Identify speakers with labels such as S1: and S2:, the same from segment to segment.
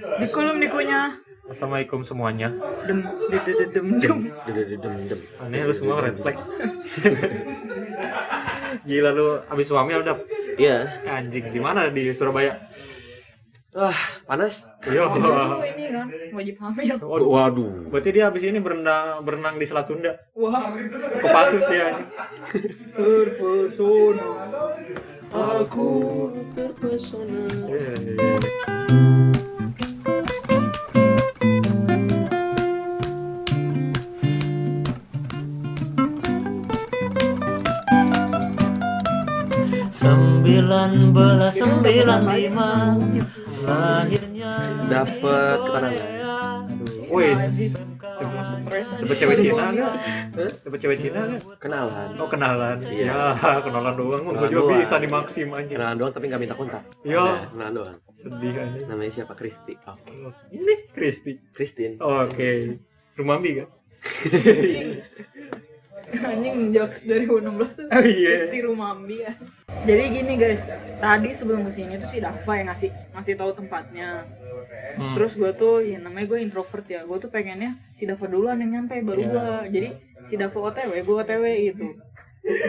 S1: Di kolom nikunya.
S2: Assalamualaikum semuanya.
S1: Dem, dem, dem, dem, dem.
S2: Aneh lu semua red flag. Gila lu abis suami udah
S3: Iya.
S2: anjing di mana di Surabaya?
S3: Wah, panas.
S2: Yo.
S1: Oh, ini kan wajib hamil.
S2: Waduh.
S3: Waduh.
S2: Berarti dia abis ini berenang berenang di Selat Sunda.
S1: Wah,
S2: Kepasus dia. anjing. Terpesona.
S3: Aku terpesona.
S4: Sembilan belas sembilan lima lahirnya
S3: Dapat keterangan.
S2: Wes.
S1: sama stres.
S2: Dapat cewek Cina enggak? Dapat cewek Cina enggak?
S3: Kenalan.
S2: Oh kenalan. Iya, kenalan doang. Gua
S3: Kenalan
S2: juga
S3: doang.
S2: bisa di Maxim anjing.
S3: Kenalan doang tapi nggak minta kontak.
S2: Iya.
S3: Udah, Kenalan doang.
S2: Sedih anjing.
S3: Namanya siapa? Kristi. Oh,
S2: Ini Kristi.
S3: Kristin.
S2: Oke. Rumah Mbi kan?
S1: Anjing jokes dari 16 tuh.
S2: Oh, iya.
S1: Isti rumah ambi ya. Jadi gini guys, tadi sebelum kesini tuh si Dafa yang ngasih ngasih tahu tempatnya.
S2: Hmm.
S1: Terus gue tuh, ya namanya gue introvert ya, gue tuh pengennya si Dafa duluan yang nyampe baru
S2: Iya.
S1: gua Jadi si Dafa OTW, gue OTW gitu.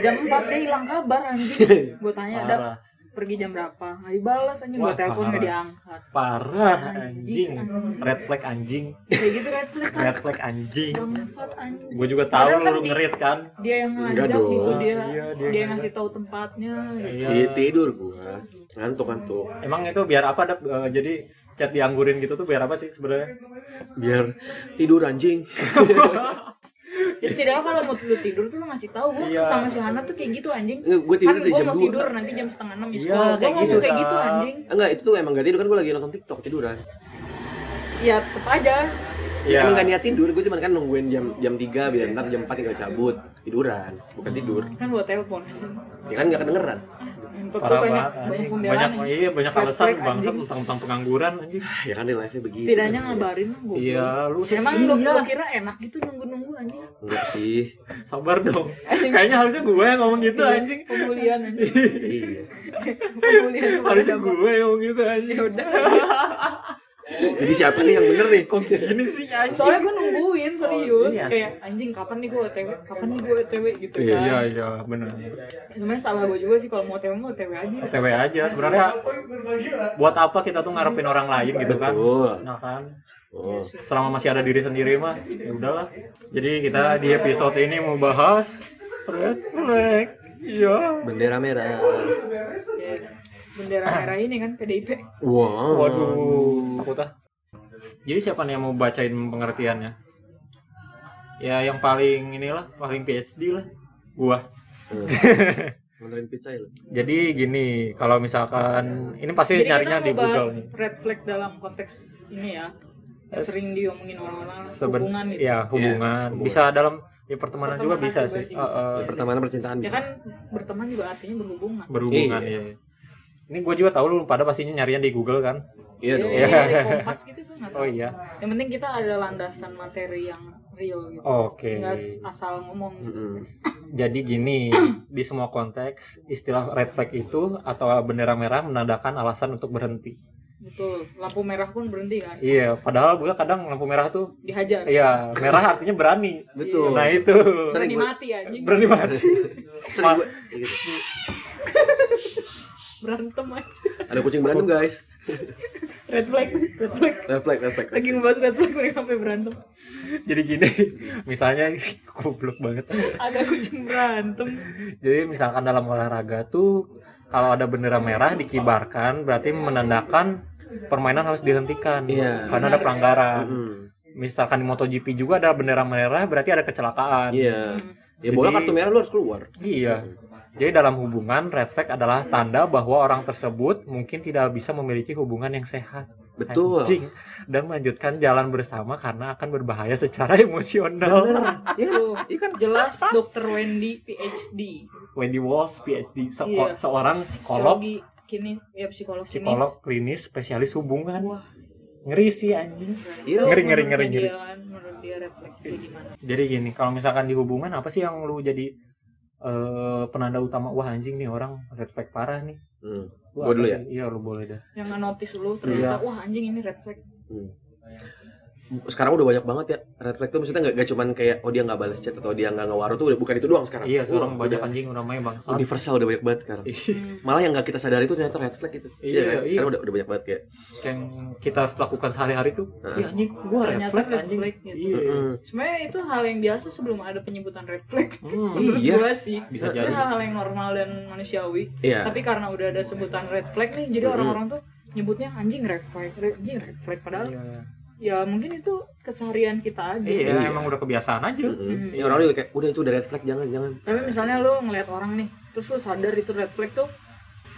S1: Jam 4 dia hilang kabar anjing. Gue tanya, Daf,
S2: Parah.
S1: pergi jam berapa? Nggak dibalas anjing, gue
S2: Wah,
S1: telepon nggak
S2: parah.
S1: diangkat.
S2: Parah anjing.
S1: Anjing.
S2: Red flag anjing.
S1: Kayak gitu kan, sering
S2: Red flag anjing.
S1: bangsat anjing.
S2: Gue juga tahu
S1: Padahal kan
S2: lu
S1: di-
S2: ngerit kan.
S1: Dia yang
S3: Enggak
S1: ngajak
S3: dong.
S1: gitu dia,
S2: Iya, dia
S1: dia,
S2: yang
S1: yang ngasih tahu tempatnya. gitu.
S3: Ti-
S2: Iya.
S3: Tidur gua. Ngantuk ngantuk.
S2: Emang itu biar apa Dap? Eh, Jadi cat dianggurin gitu tuh biar apa sih sebenarnya?
S3: Biar tidur anjing.
S1: Ya setidaknya kalau mau tidur tidur tuh lo ngasih tahu gue
S2: Iya.
S1: sama si Hana tuh kayak gitu anjing.
S3: Eh, gua
S1: kan
S3: tidur dari
S1: gue
S3: jam
S1: mau
S3: 2.
S1: tidur nanti jam setengah enam di
S2: Iya,
S1: sekolah. Gue
S2: kayak
S1: ngomong
S2: gitu,
S1: kayak gitu
S2: Kak.
S1: anjing.
S3: Enggak, Eh, itu tuh emang gak tidur kan gua lagi nonton TikTok tiduran.
S1: Ya tetep aja.
S2: Iya.
S3: Ya. Emang gak niat tidur, gue cuma kan nungguin jam jam 3 biar ntar jam 4 tinggal cabut Tiduran,
S2: Hmm.
S3: bukan tidur
S1: Kan gue telepon. anjing.
S3: Ya kan gak kedengeran
S1: Untuk tuh
S2: Parah
S1: banyak
S2: banget.
S1: banyak
S2: anjing.
S1: pembelaan.
S2: Banyak,
S1: anjing.
S2: iya banyak
S1: Red
S2: alasan
S1: flag,
S2: bangsat
S1: anjing.
S2: tentang tentang pengangguran anjing.
S3: Ya kan real life-nya begitu
S1: Setidaknya ngabarin lah gue.
S2: Iya, lu
S1: Emang
S2: iya.
S1: lu lu kira enak gitu nunggu-nunggu anjing?
S3: Enggak sih
S2: sabar dong. Kayaknya harusnya gue yang ngomong gitu
S1: Iya.
S2: anjing.
S1: Pembulian anjing.
S3: Iya
S1: Pembulian.
S2: Harusnya
S1: Iya,
S2: gue yang ngomong gitu anjing.
S1: Udah.
S3: Jadi siapa nih yang bener nih?
S2: Ini sih anjing.
S1: Soalnya gue nungguin serius
S2: iya sih.
S1: kayak anjing kapan nih gue OTW, kapan nih gue OTW gitu kan.
S3: Iya,
S2: Iya, iya, benar.
S1: Sebenarnya salah gue juga sih kalau mau OTW mau OTW aja.
S2: OTW aja sebenarnya buat apa kita tuh ngarepin orang lain gitu kan?
S3: Betul
S2: Nah kan,
S3: oh.
S2: selama masih ada diri sendiri mah, ya udahlah. Jadi kita di episode ini mau bahas red flag. Iya.
S3: Bendera merah
S1: Ya, bendera
S2: Ah.
S1: merah ini kan PDIP
S3: Wow
S2: Waduh, takut ah. Jadi siapa nih yang mau bacain pengertiannya? Ya yang paling inilah, paling PhD lah. Gua.
S3: Benerin pizza ya lu?
S2: Jadi gini, kalau misalkan ini pasti
S1: Jadi
S2: nyarinya
S1: kita
S2: di
S1: mau bahas
S2: Google nih.
S1: red flag dalam konteks ini ya yang
S2: Eh,
S1: sering diomongin orang-orang
S2: Seben-
S1: hubungan gitu
S2: ya hubungan
S3: hubungan.
S2: bisa dalam ya pertemanan, juga
S1: Pertemanan
S2: bisa
S1: juga
S2: sih
S1: sih
S2: Eh, eh,
S3: Ya, pertemanan percintaan
S1: ya
S3: bisa
S1: kan berteman juga artinya berhubungan
S2: berhubungan
S3: Iya.
S2: ya ini gue juga tahu lu pada pastinya nyarinya di Google kan
S3: Iya dong
S1: Ya, dari kompas gitu kan nggak
S2: oh
S1: tahu
S2: iya
S1: yang penting kita ada landasan materi yang real gitu
S2: oke
S1: nggak s- asal ngomong
S3: Mm-mm.
S2: jadi gini di semua konteks istilah red flag itu atau bendera merah menandakan alasan untuk berhenti
S1: betul lampu merah pun berhenti kan
S2: iya padahal gue kadang lampu merah tuh
S1: dihajar
S2: iya merah artinya berani
S3: Betul
S2: nah itu
S3: Sering
S1: berani
S3: gue
S1: mati anjing
S2: berani banget
S3: Sering gue Ya gitu.
S1: berantem aja
S3: Ada kucing berantem guys
S1: red flag red flag
S3: Red flag, red flag
S1: lagi ngebahas red flag mereka sampai berantem
S2: jadi gini misalnya goblok banget
S1: ada kucing berantem
S2: Jadi misalkan dalam olahraga tuh kalau ada bendera merah dikibarkan berarti menandakan permainan harus dihentikan
S3: Iya.
S2: karena ada pelanggaran.
S3: Mm.
S2: Misalkan di MotoGP juga ada bendera merah berarti ada kecelakaan.
S3: Iya Ya bola
S2: Jadi-
S3: kartu merah lu harus keluar
S2: Iya. Jadi dalam hubungan red flag adalah tanda bahwa orang tersebut mungkin tidak bisa memiliki hubungan yang sehat.
S3: Betul
S2: Anjing. Dan melanjutkan jalan bersama karena akan berbahaya secara emosional.
S3: Iya kan?
S1: Tuh,
S3: Iya kan
S1: jelas Dr. Wendy PhD.
S2: Wendy Walsh, PhD, se-
S1: Iya.
S2: seorang psikolog,
S1: Psikologi kini ya psikolog klinis.
S2: psikolog klinis spesialis hubungan.
S1: Wah,
S2: Ngeri sih anjing.
S3: Iya.
S2: Ngeri, ngeri,
S1: menurut
S2: ngeri,
S1: dia
S2: ngeri.
S1: kan, Menurut dia refleks kayak gimana?
S2: Jadi gini, kalau misalkan di hubungan apa sih yang lu jadi eh, penanda utama wah anjing nih orang red flag parah nih.
S3: Hmm.
S2: Gua
S3: Gua
S2: apa
S3: dulu
S2: sih?
S3: ya?
S2: Iya, lu boleh dah. Iya.
S1: Yang nge-notice lu ternyata wah anjing ini refleks
S3: Mm. sekarang udah banyak banget ya red flag tuh maksudnya nggak nggak cuman kayak oh dia nggak balas chat atau dia nggak ngawaro tuh udah bukan itu doang sekarang
S2: Iya, seorang
S3: Wah, udah
S2: banyak anjing orang main bangsat.
S3: universal udah banyak banget sekarang
S1: Hmm.
S3: malah yang nggak kita sadari itu ternyata red flag itu
S2: Iya,
S3: kan?
S2: iya.
S3: sekarang udah udah banyak banget kayak
S2: yang kita lakukan sehari-hari tuh.
S3: Heeh.
S2: Iya anjing, gua red
S1: Ternyata
S2: flag
S1: red
S2: anjing.
S1: flag gitu.
S2: Iya.
S3: "Mm-mm."
S1: Sebenarnya itu hal yang biasa sebelum ada penyebutan red flag.
S2: Hmm.
S1: Menurut
S3: Iya.
S1: gua sih.
S2: Bisa
S1: Itu
S2: jadi.
S1: hal-hal yang normal dan manusiawi.
S3: Iya.
S1: Tapi karena udah ada sebutan red flag nih, jadi orang-orang tuh nyebutnya anjing red flag, red- anjing red flag padahal
S2: Iya.
S1: ya mungkin itu keseharian kita aja.
S2: Iya, emang udah kebiasaan aja.
S3: Mm-mm. Ya, orang juga kayak udah itu udah red flag jangan jangan
S1: Tapi misalnya lo ngelihat orang nih, terus lo sadar itu red flag tuh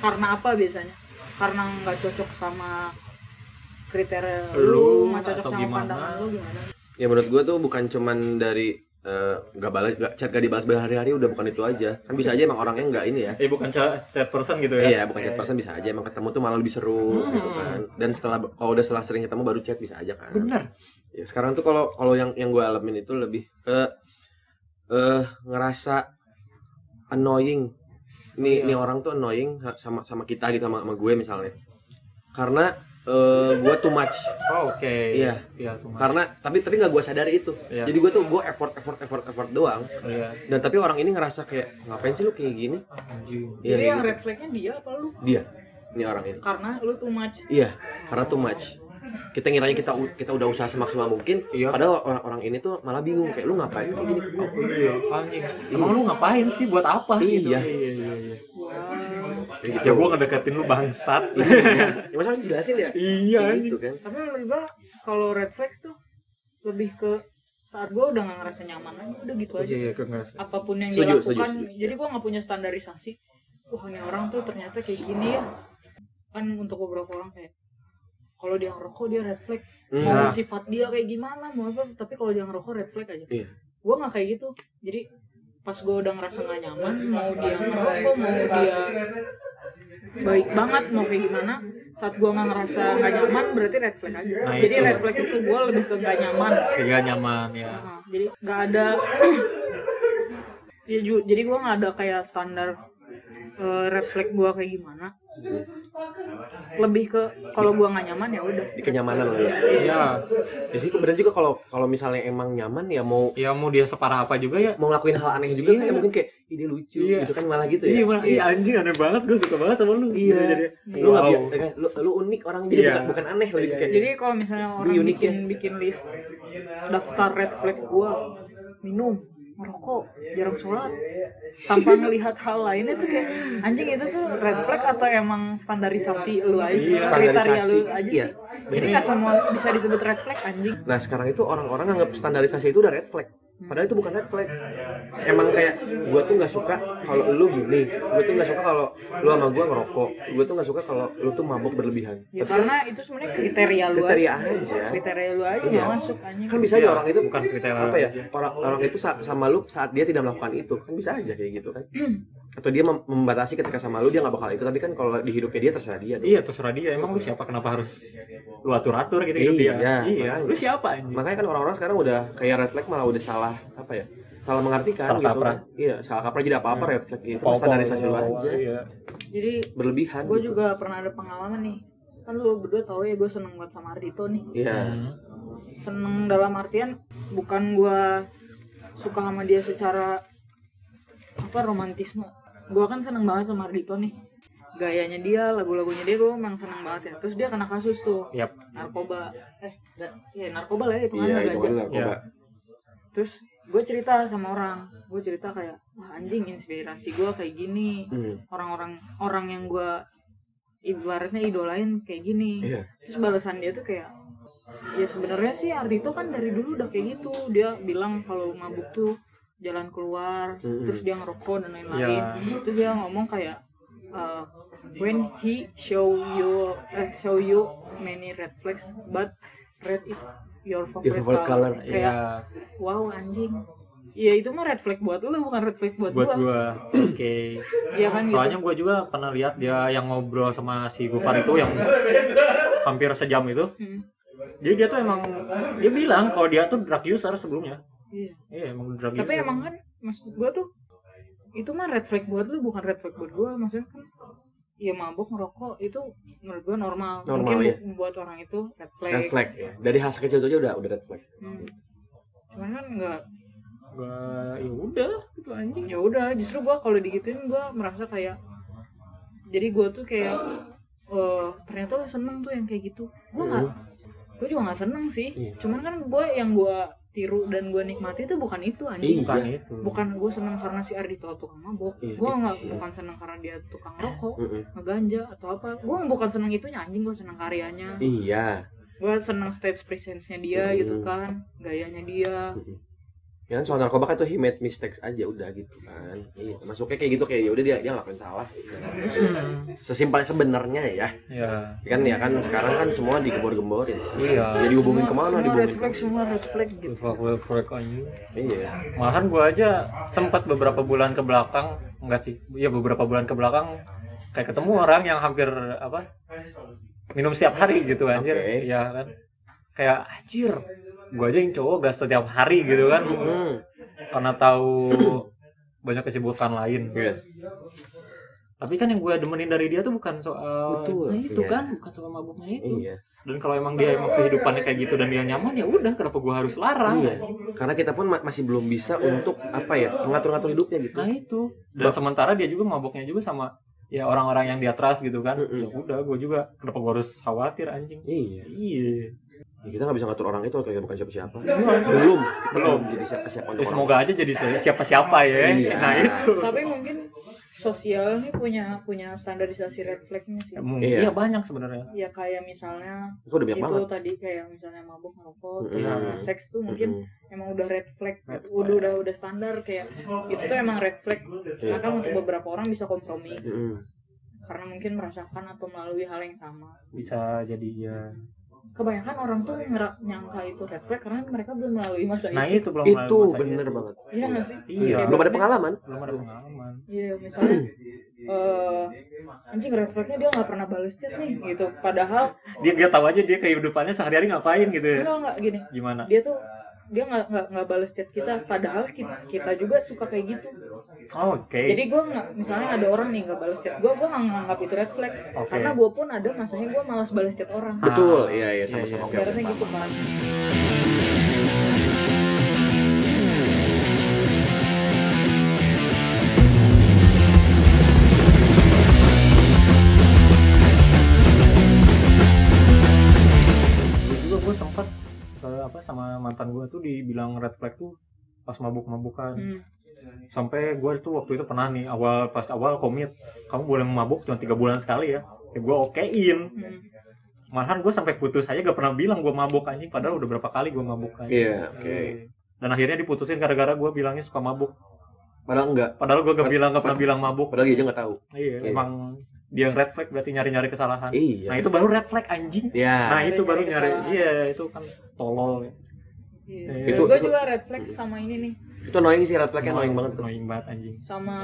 S1: karena apa biasanya? Karena nggak cocok sama kriteria
S2: Lu,
S1: lu, nggak cocok
S2: atau
S1: sama
S2: gimana?
S1: pandangan lu gimana?
S3: ya menurut gue tuh bukan cuman dari eh, nggak balas nggak chat gak dibalas berhari-hari udah bukan itu aja kan bisa aja emang orangnya nggak ini ya
S2: Eh bukan chat, chat person gitu ya.
S3: Iya, bukan chat person bisa aja emang ketemu tuh malah lebih seru gitu kan. Dan setelah kalau udah setelah sering ketemu baru chat bisa aja kan.
S2: Bener.
S3: Ya, sekarang tuh kalau kalau yang yang gue alamin itu lebih ke eh ngerasa annoying.
S2: Oh,
S3: Nih
S2: iya.
S3: nih orang tuh annoying ha- sama sama kita gitu sama, sama gue misalnya. Karena eh gue too much.
S2: Oh, Oke.
S3: Iya.
S2: Iya, tuh. Mas.
S3: Karena tapi tapi nggak gue sadari itu.
S2: Iya.
S3: Jadi gue tuh gue effort effort effort effort doang.
S2: Iya.
S3: Dan tapi orang ini ngerasa kayak ngapain sih lu kayak gini?
S2: Anjing.
S1: jadi
S3: Iya, kayak
S1: yang
S3: gitu.
S1: red flagnya dia apa lu?
S3: dia. Ini orang ini.
S1: Karena lu too much.
S3: Iya, karena too much. Kita ngiranya kita u- kita udah usaha semaksimal mungkin,
S2: Iya.
S3: padahal orang-orang ini tuh malah bingung kayak lu ngapain kayak gini.
S2: Iya, anjing. Emang lu ngapain sih buat apa gitu?
S3: Iya.
S2: iya, iya. iya.
S3: Kayak gitu.
S2: Ya gua ngedeketin lu bangsat.
S3: Iya. Ya masa harus dijelasin
S2: Iya,
S3: ya? Kayak
S2: anjing.
S3: gitu kan.
S1: Tapi menurut gua kalau red flag tuh lebih ke saat gua udah nggak ngerasa nyaman lagi, udah gitu aja.
S2: Iya, iya, gua ngerasa.
S1: Apapun yang
S3: Setuju,
S1: dilakukan,
S3: setuju, setuju.
S1: jadi gua nggak punya standarisasi. Wah ini orang tuh ternyata kayak gini ya. Kan untuk beberapa orang kayak kalau dia ngerokok dia red flag.
S3: Hmm.
S1: Mau
S2: Nah.
S1: sifat dia kayak gimana mau apa, tapi kalau dia ngerokok red flag aja.
S3: Iya.
S1: Gua nggak kayak gitu. Jadi pas gua udah ngerasa nggak nyaman, mau dia ngerokok, mau dia baik banget mau kayak gimana saat gua nggak ngerasa nggak nyaman berarti red flag aja
S2: Nah,
S1: jadi
S2: itu.
S1: red flag itu gua lebih ke nggak nyaman
S2: Kagak nyaman ya.
S1: Nah, jadi nggak ada Ya, ju- jadi gua nggak ada kayak standar eh, red flag gua kayak gimana lebih ke kalau gua nggak nyaman ya udah
S3: Di kenyamanan lo ya.
S2: Iya.
S3: Ya sih kebenaran juga kalau kalau misalnya emang nyaman ya mau
S2: Ya mau dia separah apa juga ya.
S3: mau ngelakuin hal aneh juga
S2: Iya.
S3: kayak mungkin kayak ide lucu
S2: Iya.
S3: gitu kan malah gitu ya.
S2: Iya, Bang. iya anjing aneh banget gua suka banget sama lu.
S3: Iya.
S2: Jadi,
S3: Lu nggak
S2: wow.
S3: bi- ya kan? lu, lu unik orang jadi
S2: Iya.
S3: bukan, bukan aneh lebih kayak.
S1: jadi kalau misalnya orang
S3: unik
S1: bikin bikin list daftar red flag gua minum merokok jarang sholat tanpa ngelihat hal lainnya tuh kayak anjing itu tuh red flag atau emang standarisasi lu aja sih kriteria
S3: Iya. Standarisasi.
S1: lu aja
S3: Iya.
S1: sih jadi nggak semua bisa disebut red flag anjing
S3: Nah sekarang itu orang-orang nganggap standarisasi itu udah red flag Padahal itu bukan red flag Emang kayak gue tuh gak suka kalau lu gini Gue tuh gak suka kalau lu sama gue ngerokok Gue tuh gak suka kalau lu tuh mabuk berlebihan
S1: ya karena itu sebenarnya kriteria lu
S3: kan Iya. Kriteria
S1: aja
S3: aja
S1: kriteria lu aja
S3: Iya.
S1: nggak masuk anjing
S3: Kan bisa aja orang itu
S2: Iya, bukan kriteria
S3: Apa ya orang, orang itu sa- sama lu saat dia tidak melakukan itu Kan bisa aja kayak gitu kan Atau dia mem- membatasi ketika sama lu dia gak bakal itu Tapi kan kalau di hidupnya dia terserah dia dong.
S2: Iya terserah dia. Emang lu siapa? Kenapa harus lu atur atur gitu gitu
S3: Iya,
S2: dia? Iya.
S3: makanya.
S2: Lu siapa anjing?
S3: Makanya kan orang-orang sekarang udah kayak red flag malah udah salah apa ya? Salah mengartikan
S2: Salah
S3: gitu.
S2: kaprah.
S3: Iya, salah kaprah jadi apa-apa red flag itu
S2: Pau-pau,
S3: standarisasi lu aja.
S2: Iya.
S1: jadi
S3: Berlebihan.
S1: gue
S3: gitu.
S1: juga pernah ada pengalaman nih kan lu berdua tahu ya gue seneng banget sama Ardito nih
S3: Iya.
S2: Hmm.
S1: seneng dalam artian bukan gua suka sama dia secara apa romantisme gua kan seneng banget sama Ardito nih gayanya dia lagu-lagunya dia gua emang seneng banget ya terus dia kena kasus tuh
S2: Yap.
S1: narkoba eh nggak- ya narkoba lah ya itu
S3: Iya, itu kan narkoba.
S2: Iya.
S1: terus gue cerita sama orang gue cerita kayak wah anjing inspirasi gua kayak gini
S3: Hmm.
S1: orang-orang orang yang gua ibaratnya idolain kayak gini
S3: Iya.
S1: terus balasan dia tuh kayak ya sebenarnya sih Ardito kan dari dulu udah kayak gitu dia bilang kalau mabuk tuh jalan keluar
S3: Mm-mm.
S1: terus dia ngerokok dan lain-lain
S2: Iya.
S1: terus dia ngomong kayak uh, when he show you eh, show you many red flags but red is your favorite,
S3: Your favorite color.
S1: kayak
S2: Iya.
S1: wow anjing ya itu mah red flag buat lu bukan red flag buat,
S2: buat
S1: gua
S2: gua oke
S1: Iya kan gitu.
S2: soalnya gua juga pernah lihat dia yang ngobrol sama si Gufar itu yang hampir sejam itu
S1: Hmm.
S2: jadi dia tuh emang dia bilang kalau dia tuh drug user sebelumnya
S1: Iya.
S2: iya emang drug
S1: tapi
S2: user
S1: emang kan maksud gua tuh itu mah red flag buat lu bukan red flag buat gua maksudnya kan ya mabuk ngerokok itu menurut gue normal,
S3: Normal,
S1: mungkin
S3: ya.
S1: bu- buat orang itu red flag,
S3: Red flag ya. Dari hal kecil itu aja udah udah red flag.
S1: Hmm. cuman kan nggak
S2: Gak, ya udah gitu anjing.
S1: ya udah justru gua kalau digituin gua merasa kayak jadi gua tuh kayak eh ternyata lu seneng tuh yang kayak gitu gua nggak gua juga nggak seneng sih
S3: Iya.
S1: cuman kan gua yang gua tiru dan gua nikmati tuh bukan itu anjing
S3: Iya.
S2: Bukan itu.
S1: bukan gua seneng karena si Ardito tukang mabok
S3: Iya,
S1: gua
S3: iya,
S1: nggak
S3: iya.
S1: bukan seneng karena dia tukang rokok
S3: Mm-mm.
S1: ngeganja atau apa gua bukan seneng itunya anjing gua seneng karyanya
S3: Iya.
S1: gua seneng stage presence-nya dia
S3: Mm.
S1: gitu kan gayanya dia
S3: Mm-mm. Ya kan soal narkoba kan tuh he made mistakes aja udah gitu kan. Iya, masuknya kayak gitu kayak ya udah dia dia ngelakuin salah.
S1: Hmm.
S3: Sesimpel sebenarnya ya.
S2: Ya.
S3: Ya kan ya kan sekarang kan semua digembor-gemborin.
S2: Iya.
S3: Ya dihubungin
S1: Semua-
S3: kemana
S1: semua red
S3: dihubungin.
S1: flag
S3: kemana.
S1: semua red flag gitu
S2: Fuck red flag anjing.
S3: Iya.
S2: Malahan gua aja sempat beberapa bulan ke belakang enggak sih. Ya beberapa bulan ke belakang kayak ketemu orang yang hampir apa? Minum setiap hari gitu anjir.
S3: Oke.
S2: Iya kan. Kayak anjir. Gua aja yang cowok gak setiap hari gitu kan.
S3: Hmm.
S2: Karena tahu banyak kesibukan lain.
S3: Iya.
S2: Tapi kan yang gue demenin dari dia tuh bukan soal
S3: Betul.
S2: Nah, itu
S3: Iya.
S2: kan, bukan soal mabuknya itu.
S3: Iya.
S2: Dan kalau emang dia emang kehidupannya kayak gitu dan dia nyaman ya udah kenapa gue harus larang?
S3: Iya. Karena kita pun ma- masih belum bisa untuk apa ya mengatur-ngatur hidupnya gitu.
S2: Nah itu. Dan sementara dia juga mabuknya juga sama ya orang-orang yang dia trust gitu kan.
S3: Mm-mm.
S2: Ya udah gue juga kenapa gue harus khawatir anjing? Ya,
S3: Iya.
S2: Iya.
S3: Ya, kita nggak bisa ngatur orang itu kayak bukan siapa-siapa. Belum. Belum. Jadi siapa-siapa
S2: Ya,
S3: untuk orang.
S2: semoga aja jadi se- siapa-siapa ya.
S3: Iya.
S2: Nah itu.
S1: tapi mungkin sosial nih punya punya standarisasi red flagnya sih
S2: Ya, mungkin-
S3: Iya.
S2: Iya banyak sebenarnya.
S1: ya kayak misalnya
S3: Itu udah banyak
S1: itu
S3: banget.
S1: tadi kayak misalnya mabuk ngerokok
S3: Mm-mm.
S1: terus seks tuh mungkin
S3: Mm-mm.
S1: emang udah red flag
S2: Red
S1: udah udah udah standar kayak itu tuh emang red flag
S3: Iya.
S1: Bahkan untuk beberapa orang bisa kompromi
S3: Mm-mm.
S1: karena mungkin merasakan atau melalui hal yang sama
S2: Bisa jadi ya.
S1: kebanyakan orang tuh ngera- nyangka itu red flag karena mereka belum melalui masa
S2: Nah
S1: itu
S2: itu belum
S3: Itu
S2: masanya.
S3: bener banget.
S1: iya nggak sih
S2: Iya.
S1: Kayak
S3: Belum ada
S1: berarti-
S3: pengalaman.
S2: Belum ada pengalaman.
S1: Iya, misalnya eh anjing red flagnya dia nggak pernah balas chat nih gitu. Padahal
S2: dia dia tahu aja dia kehidupannya sehari-hari ngapain gitu ya
S1: enggak enggak gini.
S2: gimana
S1: Dia tuh dia nggak nggak nggak balas chat kita. Padahal kita, kita juga suka kayak gitu.
S2: oh, oke
S1: Jadi gue nggak misalnya ada orang nih nggak balas chat gue, gue nggak nganggap itu red flag.
S2: Oke.
S1: Karena gue pun ada masanya gue malas balas chat orang.
S2: Ah,
S3: Betul. Iya iya
S2: iya, iya.
S3: sama-sama oke.
S1: Ibaratnya gitu kan.
S2: Gua juga gue sempat eh, apa sama mantan gue tuh dibilang red flag tuh pas mabuk-mabukan
S1: Hmm.
S2: sampai gue tuh waktu itu pernah nih awal pas awal komit kamu boleh mabuk cuma tiga bulan sekali ya ya gue okein
S1: hmm.
S2: malahan gue sampai putus aja gak pernah bilang gue mabuk anjing padahal udah berapa kali gue mabuk anjing
S3: Iya oke.
S2: dan akhirnya diputusin gara-gara gue bilangnya suka mabuk
S3: Padahal enggak.
S2: padahal gue gak bilang gak pernah bilang mabuk
S3: Padahal dia aja nggak tahu.
S2: iya
S3: Iya.
S2: emang dia yang red flag berarti nyari-nyari kesalahan
S3: Iya.
S2: nah itu baru red flag anjing
S3: Ya.
S2: Nah itu baru
S1: Nyari
S2: nyari,
S1: kesalahan.
S2: iya itu kan tolol.
S1: Iya.
S2: Itu-
S1: gue
S3: itu-
S1: juga red flag sama ini nih,
S3: Itu annoying sih red flagnya annoying banget.
S2: Annoying banget anjing.
S1: sama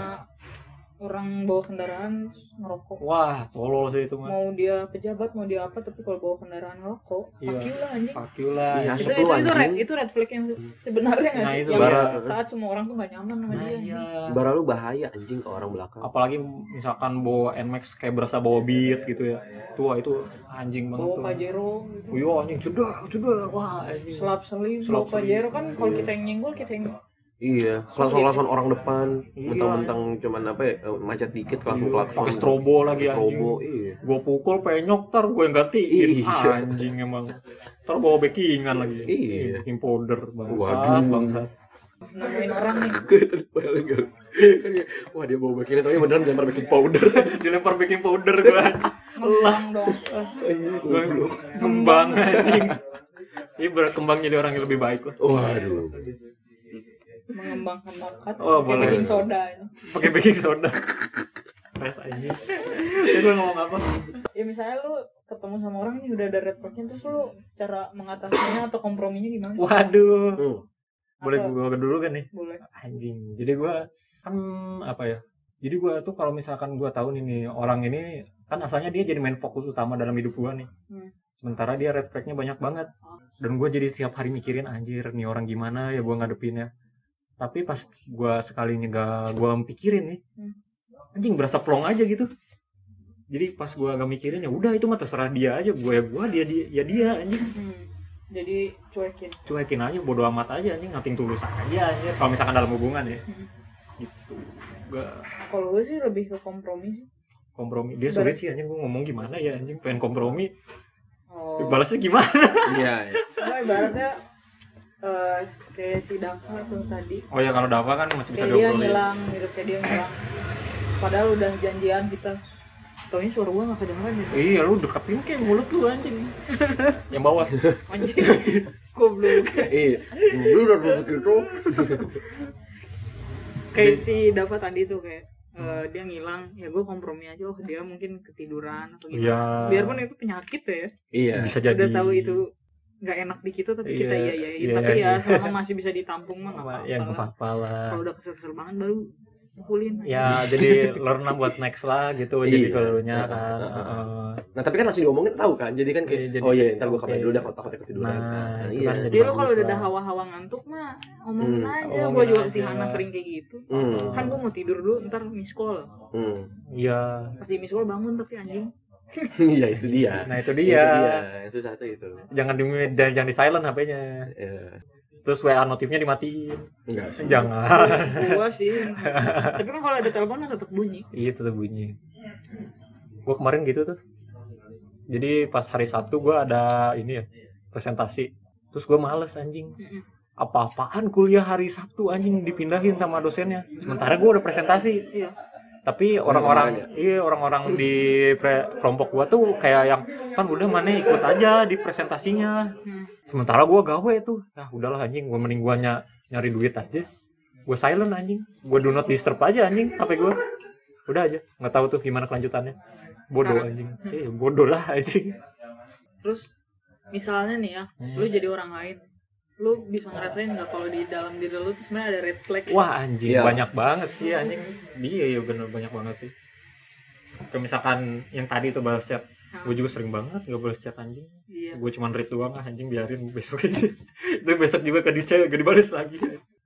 S1: orang bawa kendaraan ngerokok.
S2: Wah tolol sih itu mah.
S1: mau dia pejabat mau dia apa tapi kalau bawa kendaraan ngerokok
S2: Iya.
S1: fuck you lah anjing
S2: Fuck you lah. gitu.
S3: Iya.
S1: itu
S3: Asap
S1: itu,
S3: lu,
S1: itu, red,
S3: anjing.
S1: itu red flag yang se- sebenarnya nggak
S2: Nah,
S1: sih
S2: itu
S1: yang
S3: bara-
S1: saat semua orang tuh nggak nyaman sama
S2: Nah,
S1: dia
S2: iya.
S3: Bara lu bahaya anjing ke orang belakang.
S2: Apalagi misalkan bawa NMAX kayak berasa bawa beat gitu ya. Tua itu anjing banget
S1: bawa
S2: tuh.
S1: pajero gitu
S2: Iya anjing cedar cedar wah anjing.
S1: selap selip bawa
S2: Selap Iya. selip.
S1: pajero kan kalau kita yang nyenggol kita yang
S3: Iya. Klakson-klakson orang depan.
S2: Iya.
S3: Mentang-mentang cuman apa ya eh, macet dikit langsung klakson.
S2: Pakai strobo lagi anjing.
S3: Strobo. Iya.
S2: Gue pukul penyok tar gue yang gantiin
S3: Iya.
S2: anjing emang. Ntar bawa backingan lagi.
S3: Iya.
S2: Bikin powder bangsat
S3: Waduh.
S2: bangsat.
S1: nemuin orang nih
S3: Tadi padahal enggak. Kan ya, Wah dia bawa bakiran tapi beneran gambar bikin powder.
S2: dilempar baking powder gue
S1: ngembang dong
S3: Anjing goblok.
S2: kembang anjing ini berkembang jadi orang yang lebih baik lah
S3: Waduh.
S1: mengembangkan bakat
S2: Oh,
S1: kayak
S2: boleh.
S1: bikin soda ya.
S2: pakai baking soda stres anjing Ini gue ngomong apa
S1: ya misalnya lu ketemu sama orang nih udah ada red flagnya terus lu cara mengatasinya atau komprominya gimana
S2: waduh
S3: Hmm.
S2: boleh
S1: Atau-
S2: gue dulu kan nih
S1: boleh
S2: anjing jadi gue kan apa ya jadi gue tuh kalau misalkan gue tahu nih, nih orang ini kan asalnya dia jadi main fokus utama dalam hidup gue nih
S1: Hmm. Oh.
S2: sementara dia red flagnya banyak banget dan gue jadi setiap hari mikirin anjir nih orang gimana ya gue ngadepinnya tapi pas gue sekalinya gak gue pikirin nih
S1: Hmm.
S2: anjing berasa plong aja gitu jadi pas gue agak mikirin ya udah itu mah terserah dia aja gue ya gue dia dia ya dia anjing
S1: Hmm. Jadi cuekin.
S2: cuekin aja bodo amat aja anjing ngating tulus aja anjing kalau misalkan dalam hubungan ya
S1: Hmm.
S2: gitu gue
S1: Kalau gue sih lebih ke kompromi sih.
S2: kompromi dia sulit sih anjing gue ngomong gimana ya anjing pengen kompromi
S1: Oh.
S2: balasnya gimana
S3: Iya, iya.
S1: Cuma Oh, ibaratnya eh kayak si Dava tuh tadi.
S2: oh ya kalau Dava kan masih bisa
S1: Kayak dia
S2: diobrolin
S1: ngilang gitu, kayak dia ngilang. Padahal udah janjian kita. Taunya suara gue gak kedengeran gitu.
S2: Iya, lu deketin kayak mulut lu anjing. Yang bawah.
S1: Anjing. Goblok.
S3: Iya. Dulu udah begitu.
S1: Kayak si Dava tadi tuh kayak eh, dia ngilang ya gue kompromi aja oh dia mungkin ketiduran atau gimana
S2: Iya.
S1: biarpun itu penyakit ya
S3: Iya.
S2: Bisa jadi.
S1: udah tahu itu nggak enak di kita tapi kita iya
S2: Iya,
S1: iya
S2: iya,
S1: tapi
S2: iya.
S1: ya selama masih bisa ditampung mah nggak
S2: Apa-
S1: apa-apa
S2: yang
S1: lah.
S2: apa-apa Ya, lah.
S1: kalau udah kesel-kesel banget baru pukulin
S2: Ya, jadi learn lah buat next lah gitu.
S3: Iya.
S2: Jadi kalau nya kan.
S3: Heeh, heeh.
S2: heeh.
S3: Nah, tapi kan langsung diomongin tahu kan. Jadi kan kayak
S2: Iya, jadi-
S3: oh iya, ntar gua kabarin
S2: oke.
S3: dulu dah kalau takutnya ketiduran.
S2: Nah, itu
S3: iya.
S2: kan jadi-
S1: dia lu kalau
S2: bagus
S1: udah
S2: lah.
S1: ada hawa-hawa ngantuk mah omongin
S3: Hmm,
S1: aja
S2: omongin
S1: gue juga
S2: aja.
S1: si Hana sering kayak gitu
S3: Hmm.
S1: kan gue mau tidur dulu ntar miss call
S3: Hmm.
S2: Iya.
S1: pasti miss call bangun tapi anjing
S3: Iya, itu dia.
S2: Nah, itu
S3: Itu
S2: dia.
S3: dia. Yang susah tuh itu.
S2: Jangan di dan jangan di silent HP-nya.
S3: Iya.
S2: Terus WA notifnya dimatiin.
S3: Enggak sih.
S2: Jangan.
S1: gue sih tapi kan kalau ada telepon kan tetap bunyi
S2: Iya tetap bunyi. Gue kemarin gitu tuh. Jadi pas hari Sabtu gue ada ini ya presentasi. Terus gue males anjing.
S1: Mm-mm.
S2: Apa-apaan kuliah hari Sabtu anjing dipindahin sama dosennya. Sementara gue udah presentasi.
S1: iya
S2: Tapi
S3: kemarin
S2: orang-orang iya orang-orang di pre- kelompok gue tuh kayak yang kan udah mana ikut aja di presentasinya.
S1: Hmm.
S2: Sementara gue gawe tuh. Ah udahlah anjing gue mending gue ny- nyari duit aja. Gue silent anjing. Gue do not disturb aja anjing HP gue. Udah aja. Nggak tahu tuh gimana kelanjutannya. Bodoh
S1: Sekarang.
S2: anjing. Eh bodoh lah anjing.
S1: terus misalnya nih ya lu
S2: Hmm.
S1: jadi orang lain lu bisa ngerasain nggak kalau di dalam diri lu tuh sebenarnya ada red flag
S2: Wah anjing
S3: Iya.
S2: banyak banget sih anjing. Iya iya bener banyak banget sih. Kayak misalkan yang tadi tuh balas chat. Gue juga sering banget gak balas chat anjing.
S1: iya
S2: Gue cuman read doang ah, anjing biarin besok aja. Itu besok juga gak dicek gak dibales lagi.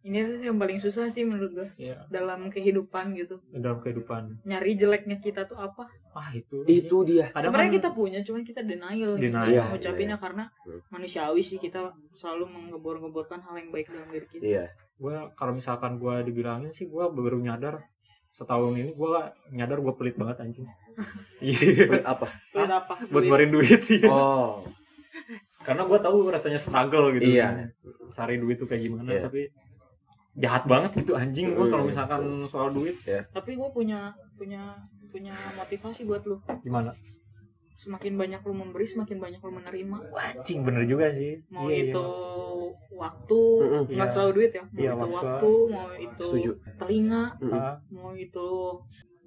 S1: ini sih yang paling susah sih menurut gue
S2: Iya
S1: dalam kehidupan gitu
S2: dalam kehidupan.
S1: nyari jeleknya kita tuh apa
S2: Ah itu.
S3: Itu dia.
S2: Kadang
S1: sebenarnya
S2: kan-
S1: kita punya cuman kita denial,
S2: Denial,
S1: gitu
S3: iya.
S1: ngucapinnya karena manusiawi sih kita selalu mengebor-geborkan hal yang baik dalam diri kita
S3: Iya.
S2: gue kalau misalkan gue dibilangin sih gue baru nyadar setahun ini gue nyadar gue pelit banget anjing iya
S3: Buat apa?
S1: Buat apa
S2: buat
S1: Duit.
S2: ngeluarin duit iya.
S3: Oh.
S2: karena gue tahu rasanya struggle gitu
S3: Iya.
S2: cari duit tuh kayak gimana
S3: Iya.
S2: tapi jahat banget gitu anjing gue kalau
S3: Hmm.
S2: misalkan soal duit
S1: tapi gue punya punya punya motivasi buat lu
S2: gimana
S1: semakin banyak lu memberi semakin banyak lu menerima
S2: anjing bener juga sih
S1: mau
S2: Iya,
S1: itu
S2: iya.
S1: waktu
S3: Mm-mm.
S1: nggak
S2: Iya.
S1: selalu duit ya mau
S2: Iya,
S1: itu
S2: waktu.
S1: waktu mau itu
S3: Setuju.
S1: telinga
S3: Mm-mm.
S2: Ah,
S1: mau itu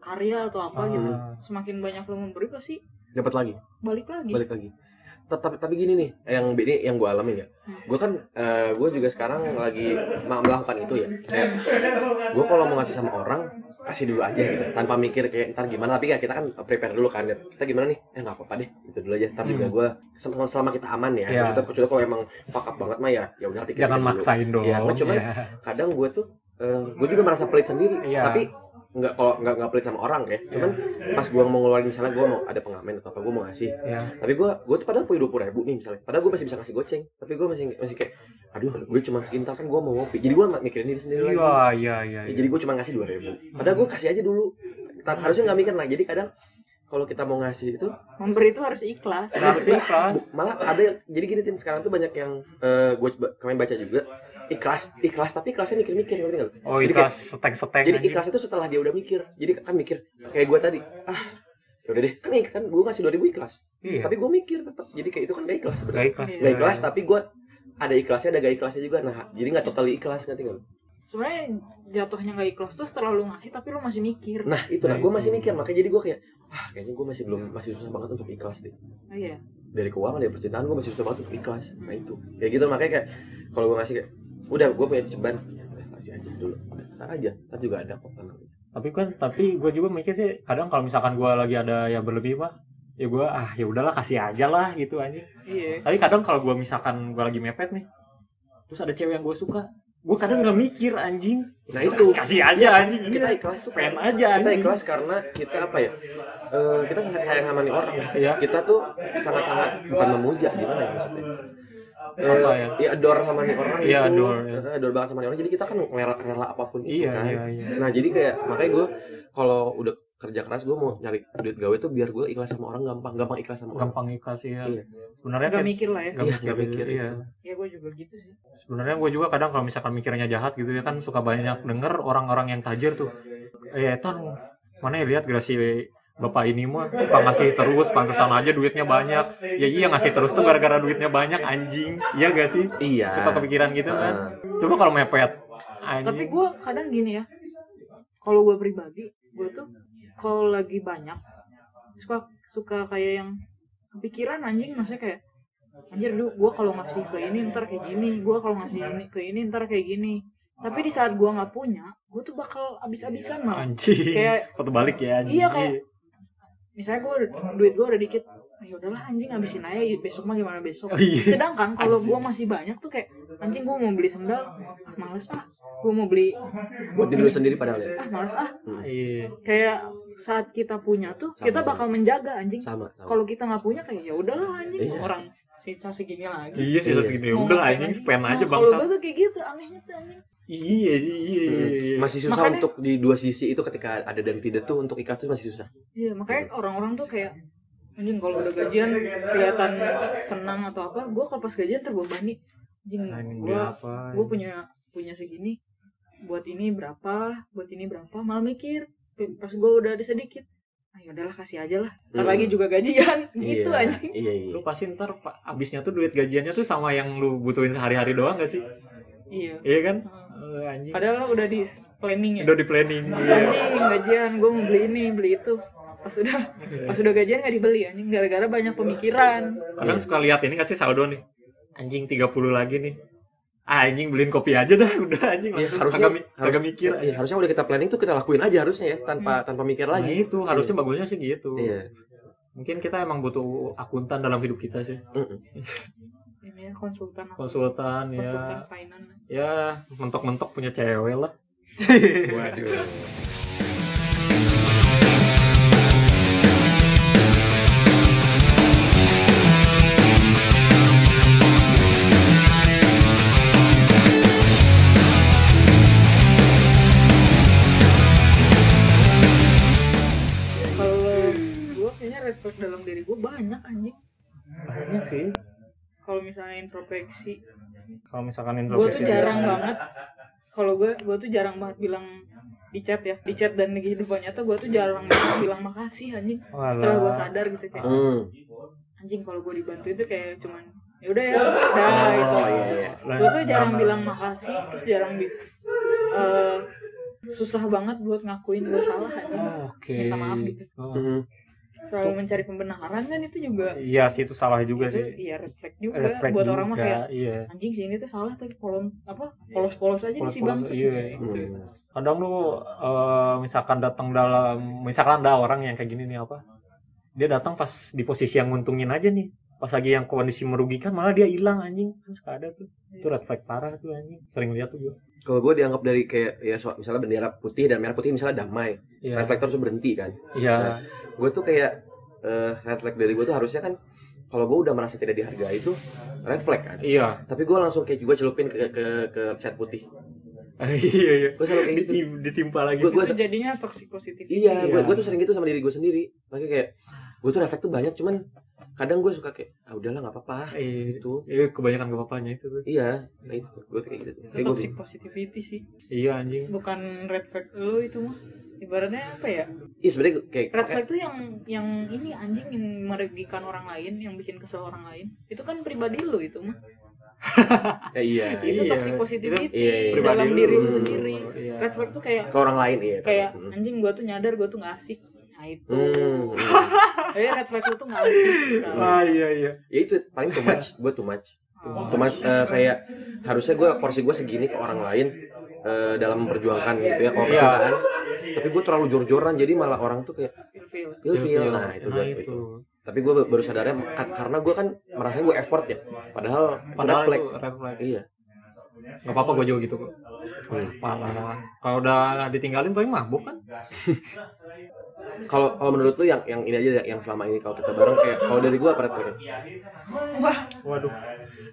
S1: karya atau apa
S2: Ah.
S1: gitu semakin banyak lo memberi pasti
S3: Dapat lagi.
S1: balik lagi
S3: balik lagi tapi tapi, tapi gini nih yang ini yang gue alamin ya gue kan gue juga sekarang lagi ma- melakukan itu ya kayak gue kalau mau ngasih sama orang kasih dulu aja gitu tanpa mikir kayak ntar gimana tapi kayak kita kan prepare dulu kan ya. kita gimana nih eh nggak apa-apa deh itu dulu aja ntar juga gue selama, selama kita aman ya
S2: Iya.
S3: maksudnya kecuali kalau emang pakap banget mah ya ya udah pikir
S2: jangan maksain dong
S3: Iya, cuman
S2: Iya.
S3: kadang gue tuh gue juga merasa pelit sendiri
S2: Iya.
S3: tapi nggak kalau nggak nggak pelit sama orang ya cuman pas gue mau ngeluarin misalnya gue mau ada pengamen atau apa gue mau ngasih
S2: Iya.
S3: tapi gue gue tuh padahal punya dua ribu nih misalnya padahal gue masih bisa kasih goceng tapi gue masih masih kayak aduh gue cuma sekintar kan gue mau ngopi jadi gue nggak mikirin diri sendiri lagi
S2: iya Hmm. iya iya
S3: Ya, jadi gue cuma ngasih dua ribu padahal gue kasih aja dulu Ta- harusnya nggak mikir nah jadi kadang kalau kita mau ngasih itu
S1: memberi itu harus ikhlas
S2: harus ikhlas
S3: bu- malah ada yang- jadi gini tin sekarang tuh banyak yang gue kemarin baca juga ikhlas ikhlas tapi ikhlasnya mikir-mikir ngerti nggak?
S2: oh
S3: Jadi kayak-
S2: ikhlas seteng-seteng
S3: jadi
S2: anjing.
S3: ikhlas itu setelah dia udah mikir jadi kan mikir kayak gue tadi ah ya udah deh kan kan gue kasih dua ribu ikhlas
S2: Iya.
S3: tapi gue mikir tetap jadi kayak itu kan gak ikhlas
S2: gak
S3: sebenarnya
S2: ikhlas
S1: Iya.
S3: nggak ikhlas tapi gue ada ikhlasnya ada gak ikhlasnya juga nah jadi nggak totally ikhlas nggak tinggal
S1: sebenarnya jatuhnya nggak ikhlas tuh setelah lu ngasih tapi lu masih mikir
S3: nah itu nah gue masih mikir makanya jadi gue kayak ah kayaknya gue masih belum masih susah banget untuk ikhlas deh
S1: Ah, iya
S3: dari keuangan dari percintaan gue masih susah banget untuk ikhlas nah itu kayak gitu makanya kayak kalau gue ngasih kayak udah gue punya ceban udah kasih aja dulu Udah, ntar aja ntar juga ada kok tenang
S2: tapi kan tapi gue juga mikir sih kadang kalau misalkan gue lagi ada ya berlebih mah ya gue ah ya udahlah kasih aja lah gitu anjing
S1: iya
S2: tapi kadang kalau gue misalkan gue lagi mepet nih terus ada cewek yang gue suka gue kadang nggak mikir anjing
S3: Nah, itu.
S2: kasih aja anjing ini
S3: kita ikhlas tuh
S2: pengen
S3: karena-
S2: aja
S3: kita
S2: anjing
S3: ikhlas karena kita apa ya Eh kita sangat sayang sama nih orang
S2: Iya.
S3: kita tuh sangat sangat bukan memuja gimana ya maksudnya Eh,
S2: Apa ya?
S3: ya adore sama nih orang
S2: Iya,
S3: gitu.
S2: adore, ya.
S3: Eh, adore banget sama nih orang jadi kita kan rela rela apapun itu
S2: Iya,
S3: kan
S2: iya, iya.
S3: nah jadi kayak makanya gue kalau udah kerja keras gue mau nyari duit gawe tuh biar gue ikhlas sama orang gampang gampang ikhlas sama orang
S2: gampang ikhlas ya
S3: Iya.
S2: sebenarnya
S1: Gak
S2: kan
S1: mikir lah ya.
S2: gak
S3: Iya,
S2: mikir,
S3: gak mikir
S2: iya.
S3: gitu.
S1: Ya gue juga gitu sih.
S2: sebenarnya gue juga kadang kalau misalkan mikirnya jahat gitu ya kan suka banyak denger orang-orang yang tajir tuh eh Etan mana ya lihat gerasi bapak ini mah suka ngasih terus pantesan aja duitnya banyak ya iya ngasih terus tuh gara-gara duitnya banyak anjing iya gak sih
S3: iya
S2: suka kepikiran gitu kan
S3: Ah.
S2: coba kalau mepet anjing
S1: Tapi gue kadang gini ya. Kalau gue pribadi, gue tuh kalau lagi banyak suka suka kayak yang kepikiran anjing maksudnya kayak anjir dulu gue kalau ngasih ke ini ntar kayak gini gue kalau ngasih ini ke ini ntar kayak gini tapi di saat gue nggak punya gue tuh bakal abis-abisan malah
S2: anjing
S1: Kayak-
S2: kok terbalik ya anjing
S1: Iya, kayak- misalnya gue duit gue udah dikit ya udahlah anjing habisin aja ya besok mah gimana besok
S2: Oh, iya.
S1: sedangkan kalau gue masih banyak tuh kayak anjing gue mau beli sendal ah, males ah gue mau beli
S3: buat diri lu sendiri padahal ya
S1: ah males ah
S2: Iya.
S1: kayak saat kita punya tuh
S3: Sama,
S1: kita
S3: sama.
S1: bakal menjaga anjing
S3: sama, sama.
S1: kalau kita nggak punya kayak ya udahlah anjing
S3: Iya.
S1: orang sisa segini lagi
S2: Iya sih
S3: Iya.
S2: segini udah anjing spam
S1: bangsa
S2: aja
S1: Nah, kalau
S2: bangsa.
S1: gue tuh kayak gitu anehnya tuh anjing
S2: Iya sih iya iya. iya.
S3: Hmm. masih susah
S1: Makanya-
S3: untuk di dua sisi itu ketika ada dan tidak tuh untuk ikhlas tuh masih susah
S1: Iya makanya orang-orang tuh kayak anjing kalau udah gajian kelihatan senang atau apa, gue kalau pas gajian terbebani. Anjing
S2: Anjing
S1: gue
S2: apa?
S1: gue punya punya segini buat ini berapa, buat ini berapa, malah mikir pas gue udah ada sedikit, ayo udahlah kasih aja lah. Ntar
S3: Hmm.
S1: lagi juga gajian gitu
S3: Iya,
S1: anjing.
S3: iya iya
S2: Lu pasti ntar pa- abisnya tuh duit gajiannya tuh sama yang lu butuhin sehari-hari doang gak sih?
S1: Iya.
S2: Iya kan?
S1: Hmm.
S2: Eh, anjing.
S1: Padahal udah di planning ya.
S2: Udah di planning. Iya.
S1: Anjing gajian gue mau beli ini beli itu pas udah pas udah gajian nggak dibeli anjing gara-gara banyak pemikiran
S2: Kadang suka lihat ini gak sih saldo nih. Anjing 30 lagi nih. Ah, anjing beliin kopi aja dah udah anjing
S3: Iya,
S2: langsung
S3: harusnya
S2: kagak mi- kagak mikir
S3: iya,
S2: anjing.
S3: harusnya udah kita planning tuh kita lakuin aja harusnya ya tanpa tanpa mikir
S2: Nah,
S3: lagi
S2: itu harusnya bagusnya sih gitu.
S3: iya
S2: Mungkin kita emang butuh akuntan dalam hidup kita sih.
S3: Mm-mm.
S1: ini ya, konsultan iya. apa?
S2: Konsultan
S1: konsultan
S2: ya.
S1: finance
S2: Ya, mentok-mentok punya cewek lah.
S1: kalau gue kayaknya red flag dalam diri gue banyak anjing
S2: Banyak sih.
S1: kalau misalnya introspeksi
S2: Kalau misalkan
S1: gue
S2: introspeksi
S1: tuh jarang banget kalau gue gue tuh jarang banget bilang di chat ya di chat dan di kehidupan nyata gue tuh jarang banget bilang makasih anjing
S2: Walah.
S1: setelah gue sadar gitu kayak
S3: Hmm.
S1: anjing kalau gue dibantu itu kayak cuman ya udah ya dah itu
S3: oh iya iya
S1: gue tuh jarang bilang makasih terus jarang bi- eh, susah banget buat ngakuin gue salah anjing
S2: Oke.
S1: Minta maaf gitu.
S2: Oh.
S3: Mm.
S1: selalu mencari pembenaran kan itu juga
S2: Iya sih itu salah juga
S1: itu
S2: sih.
S1: iya reflect juga
S2: Red flag
S1: buat
S2: juga.
S1: orang mah kayak
S2: iya.
S1: anjing sih ini tuh salah tapi polon apa polos-polos aja nih si bang
S2: Polos-polos, iya, gitu.
S3: Hmm.
S2: Kadang lu eh, misalkan datang dalam misalkan ada orang yang kayak gini nih apa? Dia datang pas di posisi yang nguntungin aja nih. Pas lagi yang kondisi merugikan malah dia hilang anjing. Kan suka ada tuh. Itu red flag parah tuh anjing. Sering lihat tuh gue.
S3: kalau gue dianggap dari kayak ya so- misalnya bendera putih dan merah putih misalnya damai
S2: Iya.
S3: reflektor tuh berhenti kan
S2: Iya.
S3: gue tuh kayak eh refleks dari gue tuh harusnya kan kalau gue udah merasa tidak dihargai itu refleks kan
S2: Iya.
S3: tapi gue langsung kayak juga celupin ke ke ke cat putih
S2: Iya iya.
S3: gue selalu kayak gitu
S2: Ditim- Ditimpa lagi.
S3: gue gue
S1: itu jadinya toxic positif
S3: Iya,
S2: Iya.
S3: gue gue tuh sering gitu sama diri gue sendiri. Makanya kayak gue tuh refleks tuh banyak, cuman kadang gue suka kayak ah udahlah nggak apa-apa
S2: Iya.
S3: gitu.
S2: Iya, kebanyakan kebapaknya itu tuh.
S3: Iya, nah itu tuh gue tuh kayak gitu. Tuh.
S1: itu
S3: Kayak gue
S1: toxic positivity sih
S2: Iya anjing.
S1: bukan red flag lo itu mah ibaratnya apa ya
S3: iya sebenarnya gua kayak
S1: red flag tuh yang yang ini anjing yang merugikan orang lain yang bikin kesel orang lain itu kan pribadi lo itu mah
S3: kayak iya.
S1: itu
S2: Iya,
S1: toxic positivity
S3: iya, iya.
S1: dalam
S2: Pribadi
S1: diri
S2: lu.
S1: lo sendiri
S2: Iya.
S1: red flag tuh kayak
S3: Ke orang lain iya.
S1: kayak
S3: Hmm.
S1: anjing gua tuh nyadar gua tuh nggak asik nah itu
S3: Hmm.
S1: jadi red flag lu tuh nggak asik misalnya. Oh,
S2: Ah iya iya.
S3: ya itu paling too much, gue too much. Too much eh, kayak harusnya gue porsi gue segini ke orang lain eh, dalam memperjuangkan gitu ya kalau
S2: Iya.
S3: percintaan. Tapi gue terlalu jor-joran jadi malah orang tuh kayak
S1: feel feel
S3: feel feel. Nah itu udah itu. Tapi gue baru sadarnya ka- karena gue kan merasa gue effort ya. Padahal, itu
S2: Padahal
S3: red flag.
S2: itu red flag.
S3: Iya.
S2: nggak apa-apa gue juga gitu kok parah kalau udah ditinggalin paling mabuk kan
S3: Kalau kalau menurut lu yang yang ini aja deh, yang selama ini kalau kita bareng kayak kalau dari gua apa Red, kayaknya?
S2: waduh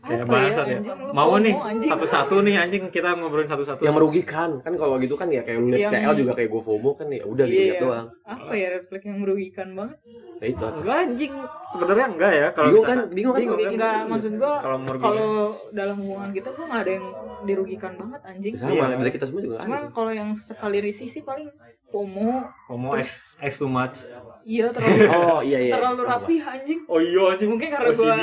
S2: kayak
S1: Apa
S2: bangsat
S1: ya,
S2: ya,
S1: anjing, lu
S2: mau
S1: FOMO,
S2: nih
S1: anjing.
S2: satu-satu nih anjing kita ngobrolin satu-satu
S3: yang merugikan kan kalau gitu kan ya kayak lu
S1: Yang-
S3: liat CL juga kayak gua FOMO kan ya udah gitu
S1: hmm. Iya.
S3: liat doang
S1: apa ya refleks yang merugikan banget
S3: nah itu
S2: enggak anjing sebenarnya enggak ya kalau
S3: bingung kan
S2: misalkan-
S3: bingung kan
S2: bingung
S3: kalau kayak
S1: enggak
S3: gitu.
S1: maksud gua
S2: Kalau merugikan.
S1: kalau dalam hubungan kita gua nggak ada yang dirugikan banget anjing Iya.
S3: sama dari kita semua juga
S1: cuma
S3: kan
S1: kalau yang sekali risih sih paling FOMO
S2: Homo X X too much
S1: iya terlalu
S3: oh iya iya
S1: terlalu rapi anjing
S2: oh iya anjing
S1: mungkin karena gua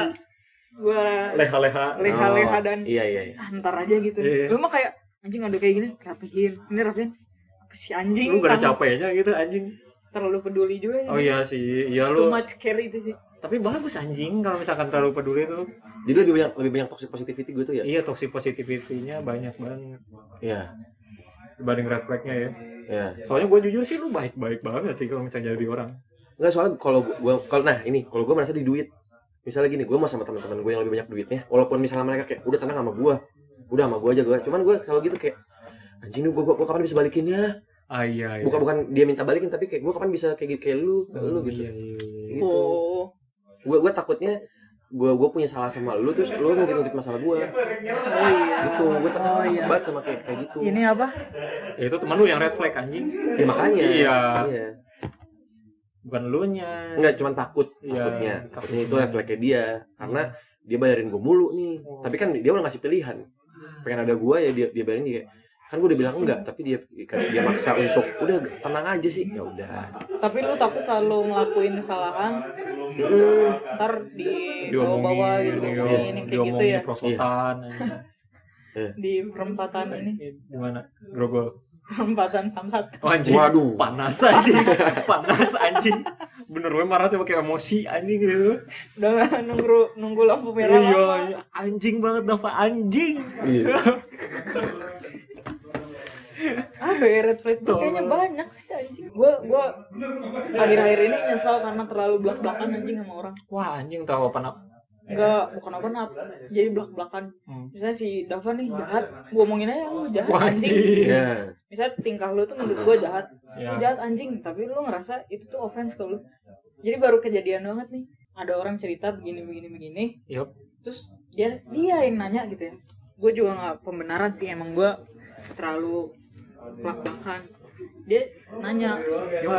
S1: gua
S2: leha-leha
S1: leha-leha
S3: Oh,
S1: dan
S3: iya iya iya.
S1: ah, ntar aja gitu
S2: Iya, iya.
S1: lu mah kayak anjing ada kayak gini rapihin ini rapihin apa sih anjing
S2: lu gak ada
S1: Kamu
S2: capeknya gitu anjing
S1: terlalu peduli juga ya
S2: oh iya sih iya
S1: too
S2: lu
S1: much care itu sih
S2: tapi bagus anjing kalau misalkan terlalu peduli tuh
S3: jadi lebih banyak lebih banyak toxic positivity gue tuh ya
S2: iya toxic positivity-nya banyak banget
S3: iya
S2: dibanding red flag-nya ya
S3: iya
S2: soalnya gue jujur sih lu baik-baik banget sih kalau misalnya jadi orang
S3: Enggak soalnya kalau gua kalau nah ini kalau gua merasa di duit. Misalnya gini, gua mau sama teman-teman gua yang lebih banyak duitnya, walaupun misalnya mereka kayak udah tenang sama gua. Udah sama gua aja gua. Cuman gua selalu gitu kayak anjing lu gua, gua, gua kapan bisa balikin ya?
S2: ah iya iya
S3: Bukan bukan dia minta balikin tapi kayak gua kapan bisa kayak gitu kayak lu, kayak lu
S2: Oh,
S3: gitu.
S2: iya, iya, iya.
S3: Gitu.
S1: oh
S3: Gua gua takutnya gua gua punya salah sama lu terus lu mau ngintip masalah gua.
S1: oh iya
S3: Gitu, gua takut
S1: Oh, iya.
S3: banget sama kayak kayak gitu.
S1: ini apa
S2: Ya, itu teman lu yang red flag anjing
S3: Ya makanya.
S2: Iya.
S3: iya.
S2: bukan lu
S1: Oh,
S2: nya
S3: Enggak, cuman takut
S2: Iya,
S3: takutnya.
S2: takutnya.
S3: Takutnya itu refleksnya dia karena dia bayarin gue mulu nih.
S1: Oh.
S3: Tapi kan dia udah ngasih pilihan. Pengen ada gue ya dia dia bayarin dia. Kan gue udah bilang enggak, tapi dia kan dia maksa untuk udah tenang aja sih. Ya udah.
S1: tapi lu takut selalu ngelakuin kesalahan
S2: Eh,
S1: ntar di bawah-bawah
S2: diomongin
S1: gitu
S2: diom-
S1: diomongin
S2: diomongin,
S1: kayak gitu ya
S2: prosotan anjing.
S1: di perempatan ini
S2: gimana grogol
S1: perempatan samsat
S2: Oh, anjing.
S3: Waduh.
S2: Panas anjing. Panas anjing. Bener gue marah tuh pakai emosi anjing gitu.
S1: udah nggak nunggu nunggu lampu merah
S2: Iya,
S1: lama.
S2: iya. anjing banget Dava anjing.
S3: Iya.
S1: apa ya red flag tuh kayaknya banyak sih anjing gue gue akhir-akhir ini nyesal karena terlalu belak-belakan anjing sama orang
S2: Wah, anjing tahu apa nak.
S1: enggak bukan apa apa jadi belak-belakan
S2: Hmm.
S1: misalnya si Dava nih jahat gue omongin aja lu jahat
S2: Wah,
S1: anjing
S2: anjing.
S3: Iya.
S1: misalnya tingkah lu tuh menurut gue jahat lu
S2: Ya.
S1: jahat anjing tapi lu ngerasa itu tuh offense ke lu jadi baru kejadian banget nih ada orang cerita begini begini begini
S2: Yup.
S1: terus dia dia yang nanya gitu ya gue juga nggak pembenaran sih emang gue terlalu plak-plakan dia nanya "E,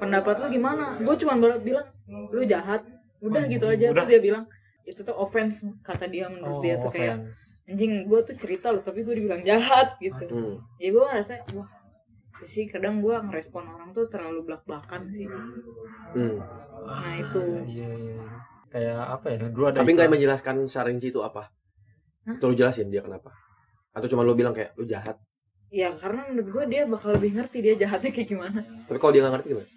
S1: pendapat lu gimana gue cuma baru bilang lu jahat udah gitu aja terus
S2: Udah.
S1: dia bilang itu tuh offense kata dia menurut
S2: Oh,
S1: dia tuh kayak
S2: offense.
S1: anjing gue tuh cerita lo tapi gue dibilang jahat gitu
S3: Hmm.
S1: ya gue ngerasa wah ya sih kadang gue ngerespon orang tuh terlalu belak-belakan sih
S3: Hmm.
S1: nah itu
S2: Oh, Iya, iya. Kayak apa ya? Dulu ada
S3: Tapi nggak
S2: iklan.
S3: menjelaskan secara rinci itu apa?
S1: Hah?
S3: Itu lu jelasin dia kenapa? Atau cuma lu bilang kayak lu jahat.
S1: ya karena menurut gue dia bakal lebih ngerti dia jahatnya kayak gimana
S3: Tapi kalau dia nggak ngerti gimana?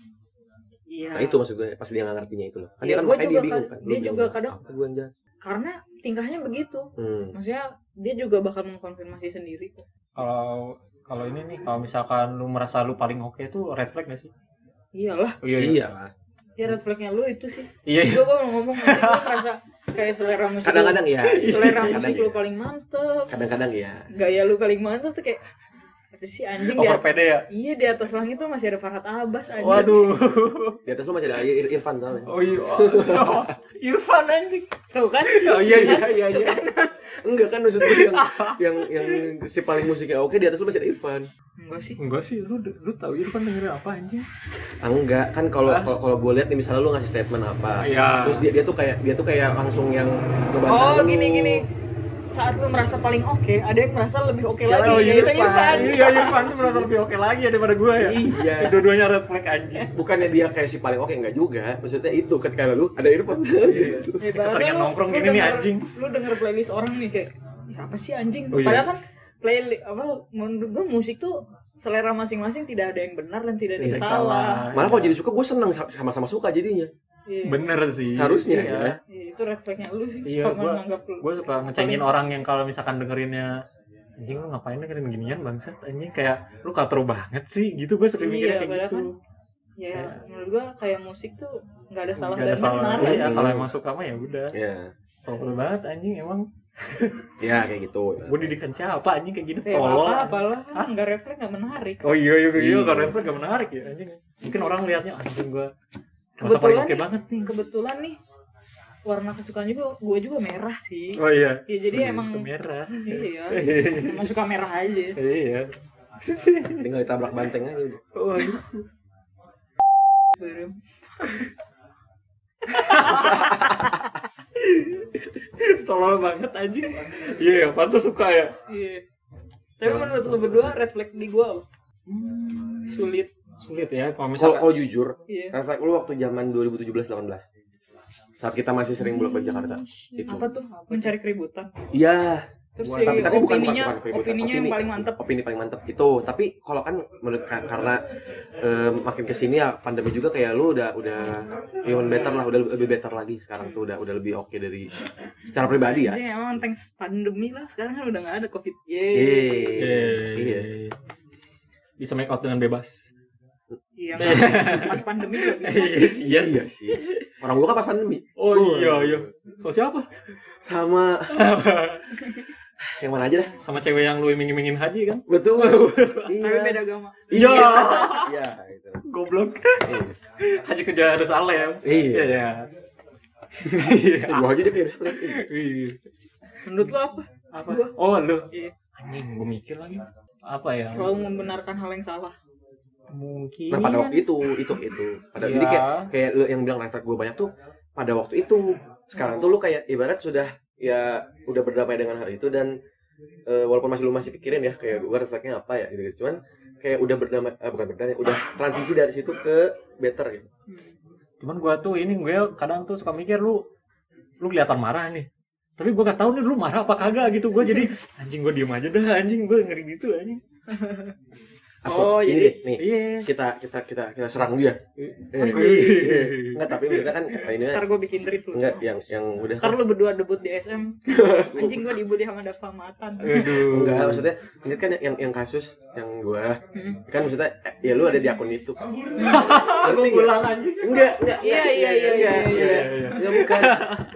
S1: iya
S3: Nah itu maksud gue pas dia nggak ngertinya itu loh. Kan
S1: Iya,
S3: dia kan
S1: gue
S3: makanya dia
S1: juga
S3: bingung
S1: kad-
S3: kan. Lu
S1: dia
S3: bilang,
S1: juga kadang-
S3: apa gue yang jahat?
S1: karena tingkahnya begitu
S3: Hmm.
S1: maksudnya dia juga bakal mengkonfirmasi sendiri kok
S2: Kalau kalau ini nih, kalau misalkan lu merasa lu paling oke tuh red flag gak sih?
S1: iyalah
S2: Oh, iya, iya.
S3: Iya lah.
S1: ya red flagnya lu itu sih
S2: Iya, iya.
S1: gue gue ngomong nanti gue ngerasa kayak selera musik lu-
S3: Kadang-kadang ya.
S1: selera
S3: Kadang
S1: musik
S3: ya.
S1: lu paling mantep
S3: kadang-kadang ya
S1: gaya lu paling mantep tuh kayak apa sih anjing di
S2: Over
S1: atas,
S2: pede ya.
S1: iya di atas langit tuh masih ada Farhat Abbas anjing
S2: Waduh.
S3: di atas lu masih ada Ir- Irfan soalnya
S2: Oh iya. Irfan anjing.
S1: tuh kan
S2: Oh iya iya iya iya.
S3: enggak kan maksud gue yang, yang yang si paling musiknya oke di atas lu masih ada Irfan
S1: enggak sih
S2: Enggak sih, lu lu tahu Irfan dengerin apa anjing?
S3: Ah, enggak kan kalau kalau kalau gue lihat nih misalnya lu ngasih statement apa
S2: Iya.
S3: terus dia dia tuh kayak dia tuh kayak langsung yang ngebantah
S1: oh
S3: lu.
S1: gini gini saat lu merasa paling oke ada yang merasa lebih oke
S3: Ya,
S1: lagi
S3: oh,
S1: gitu
S3: Irfan.
S1: Irfan
S2: Iya, Irfan tuh merasa lebih oke lagi ya daripada gue ya.
S3: Iya.
S2: Dua-duanya red flag anjing.
S3: bukannya dia kayak si paling oke enggak juga maksudnya itu ketika lu ada Irfan Gitu.
S1: Eh, baru
S2: Keseringan
S1: lu-
S2: nongkrong
S1: lu
S2: gini nih,
S1: denger-
S2: anjing.
S1: Lu denger playlist orang nih kayak "Ya apa sih anjing?
S2: Oh, iya.
S1: Padahal kan playlist apa menurut gua musik tuh selera masing-masing tidak ada yang benar dan tidak ada yang
S2: Tidak
S1: salah.
S3: malah kalau jadi suka gue seneng sa- sama-sama suka jadinya
S1: Iya.
S2: Bener sih.
S3: harusnya
S2: Iya.
S3: ya
S1: Iya, itu refleksnya lu sih.
S2: Iya,
S1: kalau
S2: gua-
S1: menganggap lu.
S2: Gue suka ngecengin orang yang kalau misalkan dengerinnya anjing lu ngapain dengerin ginian bangsat anjing kayak lu katro banget sih gitu gue suka
S1: Iya,
S2: mikirnya kayak
S1: padahal
S2: gitu.
S1: ya, menurut gua kayak musik tuh nggak ada salah
S2: Gak ada
S1: dan
S2: salah.
S1: benar.
S2: Iya,
S1: anjing.
S2: kalau emang suka mah ya udah.
S3: ya
S2: Tolol banget anjing emang.
S3: ya kayak gitu
S2: Gue didikan siapa anjing kayak gini
S1: Kayak apa
S2: tolol.
S1: apalah kan nggak refleks nggak menarik.
S2: Oh iya iya iya
S3: Iya.
S2: karena itu gak menarik ya anjing. Mungkin orang lihatnya anjing gue masa paling oke banget nih.
S1: Kebetulan nih warna kesukaan juga gue juga merah sih.
S2: Oh iya.
S1: Ya jadi emang
S2: Suka merah.
S1: iya. Emang suka merah aja.
S2: Iya.
S3: tinggal ditabrak banteng aja udah
S2: Waduh.
S1: Barem.
S2: Tolol banget anjing. Iya ya, pantas suka ya.
S1: Iya. Tapi menurut lu berdua red flag di gue apa?
S3: Hmm.
S1: Sulit.
S2: Sulit ya kalau
S3: kalau
S2: misalkan
S3: kalau jujur
S1: Iya.
S3: refleks lu waktu zaman 2017 18 saat kita masih sering bolak balik Jakarta itu
S1: Apa tuh? Mencari keributan.
S3: iya
S1: Terus
S3: Bukan,
S1: si
S3: tapi, tapi bukan, bukan,
S1: opininya,
S3: bukan keributan.
S1: opininya yang paling mantep.
S3: opini paling mantep itu tapi kalau kan menurut ka- karena eh, makin kesini ya pandemi juga kayak lu udah udah even better lah udah lebih better lagi sekarang tuh udah udah lebih oke dari secara pribadi ya
S1: Jadi emang "Oh, thanks pandemi lah sekarang kan udah nggak ada covid. Yeay.
S3: Yeay. iya
S2: Iya. Bisa make out dengan bebas.
S1: Iya. nggak- Pas pandemi nggak bisa sih.
S2: Iya.
S3: iya sih orang gua kan pas pandemi
S2: Oh iya iya. So siapa?
S3: sama yang mana aja dah
S2: Sama cewek yang lu iming-imingin haji kan?
S3: betul
S1: Tapi
S3: iya
S1: beda agama.
S3: iya iya gitu.
S2: Goblok.
S3: Iya.
S2: haji kerja harus alem.
S3: Iya.
S2: Iya.
S3: Eh, gua aja deh kayak udah selesai.
S2: Iya.
S1: Menurut lo apa?
S2: Apa?
S1: Gua.
S2: Oh lu.
S1: Iya.
S2: Anjing gue mikir lagi. Apa ya?
S1: Selalu membenarkan hal yang salah.
S2: Mungkin.
S3: Nah pada waktu itu itu itu. Pada
S2: Iya.
S3: jadi kayak kayak lu yang bilang refleks gue banyak tuh pada waktu itu. Sekarang tuh lu kayak ibarat sudah ya udah berdamai dengan hal itu dan eh, walaupun masih lu masih pikirin ya kayak gue refleksnya apa ya gitu, gitu. Cuman kayak udah berdamai eh, bukan berdamai udah transisi dari situ ke better gitu.
S2: cuman gua tuh ini gue kadang tuh suka mikir lu lu kelihatan marah nih tapi gua gak tahu nih lu marah apa kagak gitu gua jadi anjing gua diem aja dah anjing gua ngeri gitu anjing
S1: Oh,
S3: Atau ini
S1: jadi-
S3: deh, nih
S2: iya
S3: kita kita kita kita serang dia.
S2: Eh.
S3: Enggak tapi kita kan kayak ini
S1: Ntar gue bikin tweet lu.
S3: enggak yang yang udah
S1: Ntar lu berdua debut di SM. Anjing gue debut di Hamada Famatan.
S3: Iya.
S2: aduh
S3: enggak maksudnya ini kan yang yang kasus yang gua
S1: Hmm.
S3: kan maksudnya eh, ya lu ada di akun itu
S2: aku pulang anjing
S3: enggak enggak
S1: Iya, iya, iya, iya,
S3: enggak,
S2: iya,
S3: enggak,
S2: iya.
S3: enggak bukan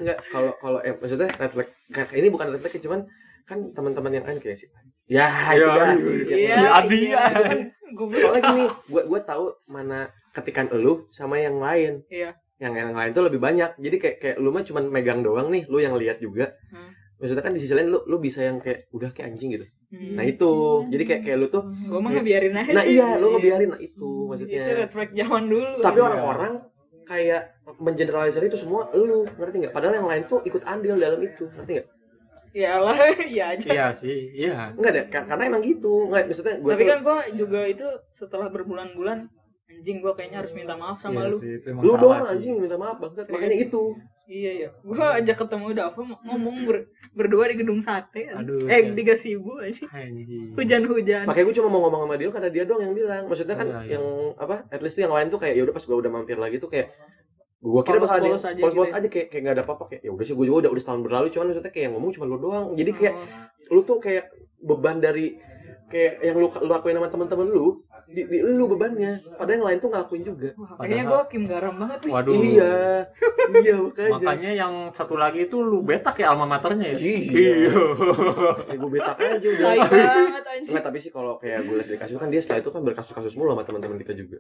S3: enggak kalau kalau eh, maksudnya refleks kayak ini bukan refleks cuman kan teman-teman yang lain kayak sih ya
S2: Iya,
S3: ya,
S2: iya.
S3: ya.
S2: Si Adi, ya.
S1: kan Gue
S3: soalnya gini gua gua tahu mana ketikan elu sama yang lain
S1: Iya.
S3: yang yang lain tuh lebih banyak jadi kayak kayak lu mah cuman megang doang nih lu yang lihat juga
S1: Hmm.
S3: maksudnya kan di sisi lain lu lu bisa yang kayak udah kayak anjing gitu nah itu jadi kayak kayak lu tuh
S1: Gue mah ngebiarin aja
S3: nah
S1: sih.
S3: iya lu ngebiarin nah itu
S1: Itu
S3: maksudnya
S1: red flag zaman dulu.
S3: tapi orang-orang kayak mengeneralisir itu semua lu ngerti nggak padahal yang lain tuh ikut andil dalam itu ngerti nggak
S1: Iyalah, iya aja.
S2: iya sih iya
S3: nggak deh ka- karena emang gitu nggak maksudnya gue
S1: Tapi kan gue juga itu setelah berbulan-bulan anjing gue kayaknya harus minta maaf sama
S2: Iya
S1: lu.
S2: sih, itu emang
S3: lu
S2: salah
S3: doang
S2: sih.
S3: anjing minta maaf bangsat
S1: Serius.
S3: makanya itu
S1: Iya iya. Gue ajak ketemu Dava ngomong ber- berdua di gedung sate.
S2: Aduh,
S1: eh
S2: iya.
S1: di gasibu aja.
S2: anjing
S1: Hujan-hujan.
S3: makanya gue cuma mau ngomong sama dia karena dia doang yang bilang maksudnya kan
S1: Oh,
S2: Iya, iya.
S3: yang apa at least tuh yang lain tuh kayak ya udah pas gue udah mampir lagi tuh kayak gue kira bakal ada
S1: Polos-polos aja
S3: polos-polos
S1: gitu ya.
S3: aja kayak kayak nggak ada apa-apa kayak ya udah sih gue juga udah udah setahun berlalu cuman maksudnya kayak yang ngomong cuma lu doang jadi kayak
S1: Oh.
S3: lu tuh kayak beban dari kayak yang lu, lu lakuin sama teman-teman lu di, di lu bebannya padahal yang lain tuh ngelakuin juga
S1: Wah, kayaknya gue
S2: Padahal-
S1: Kim Garam banget nih.
S2: waduh
S3: Iya. iya makanya.
S2: makanya yang satu lagi itu lu betak ya alma maternya ya
S3: Iya. Ya, gue betak aja udah.
S1: Tai banget anjing.
S2: Oh,
S3: Enggak, tapi sih kalau kayak gue liat dari kasus kan dia setelah itu kan berkasus-kasus mulu sama teman-teman kita juga.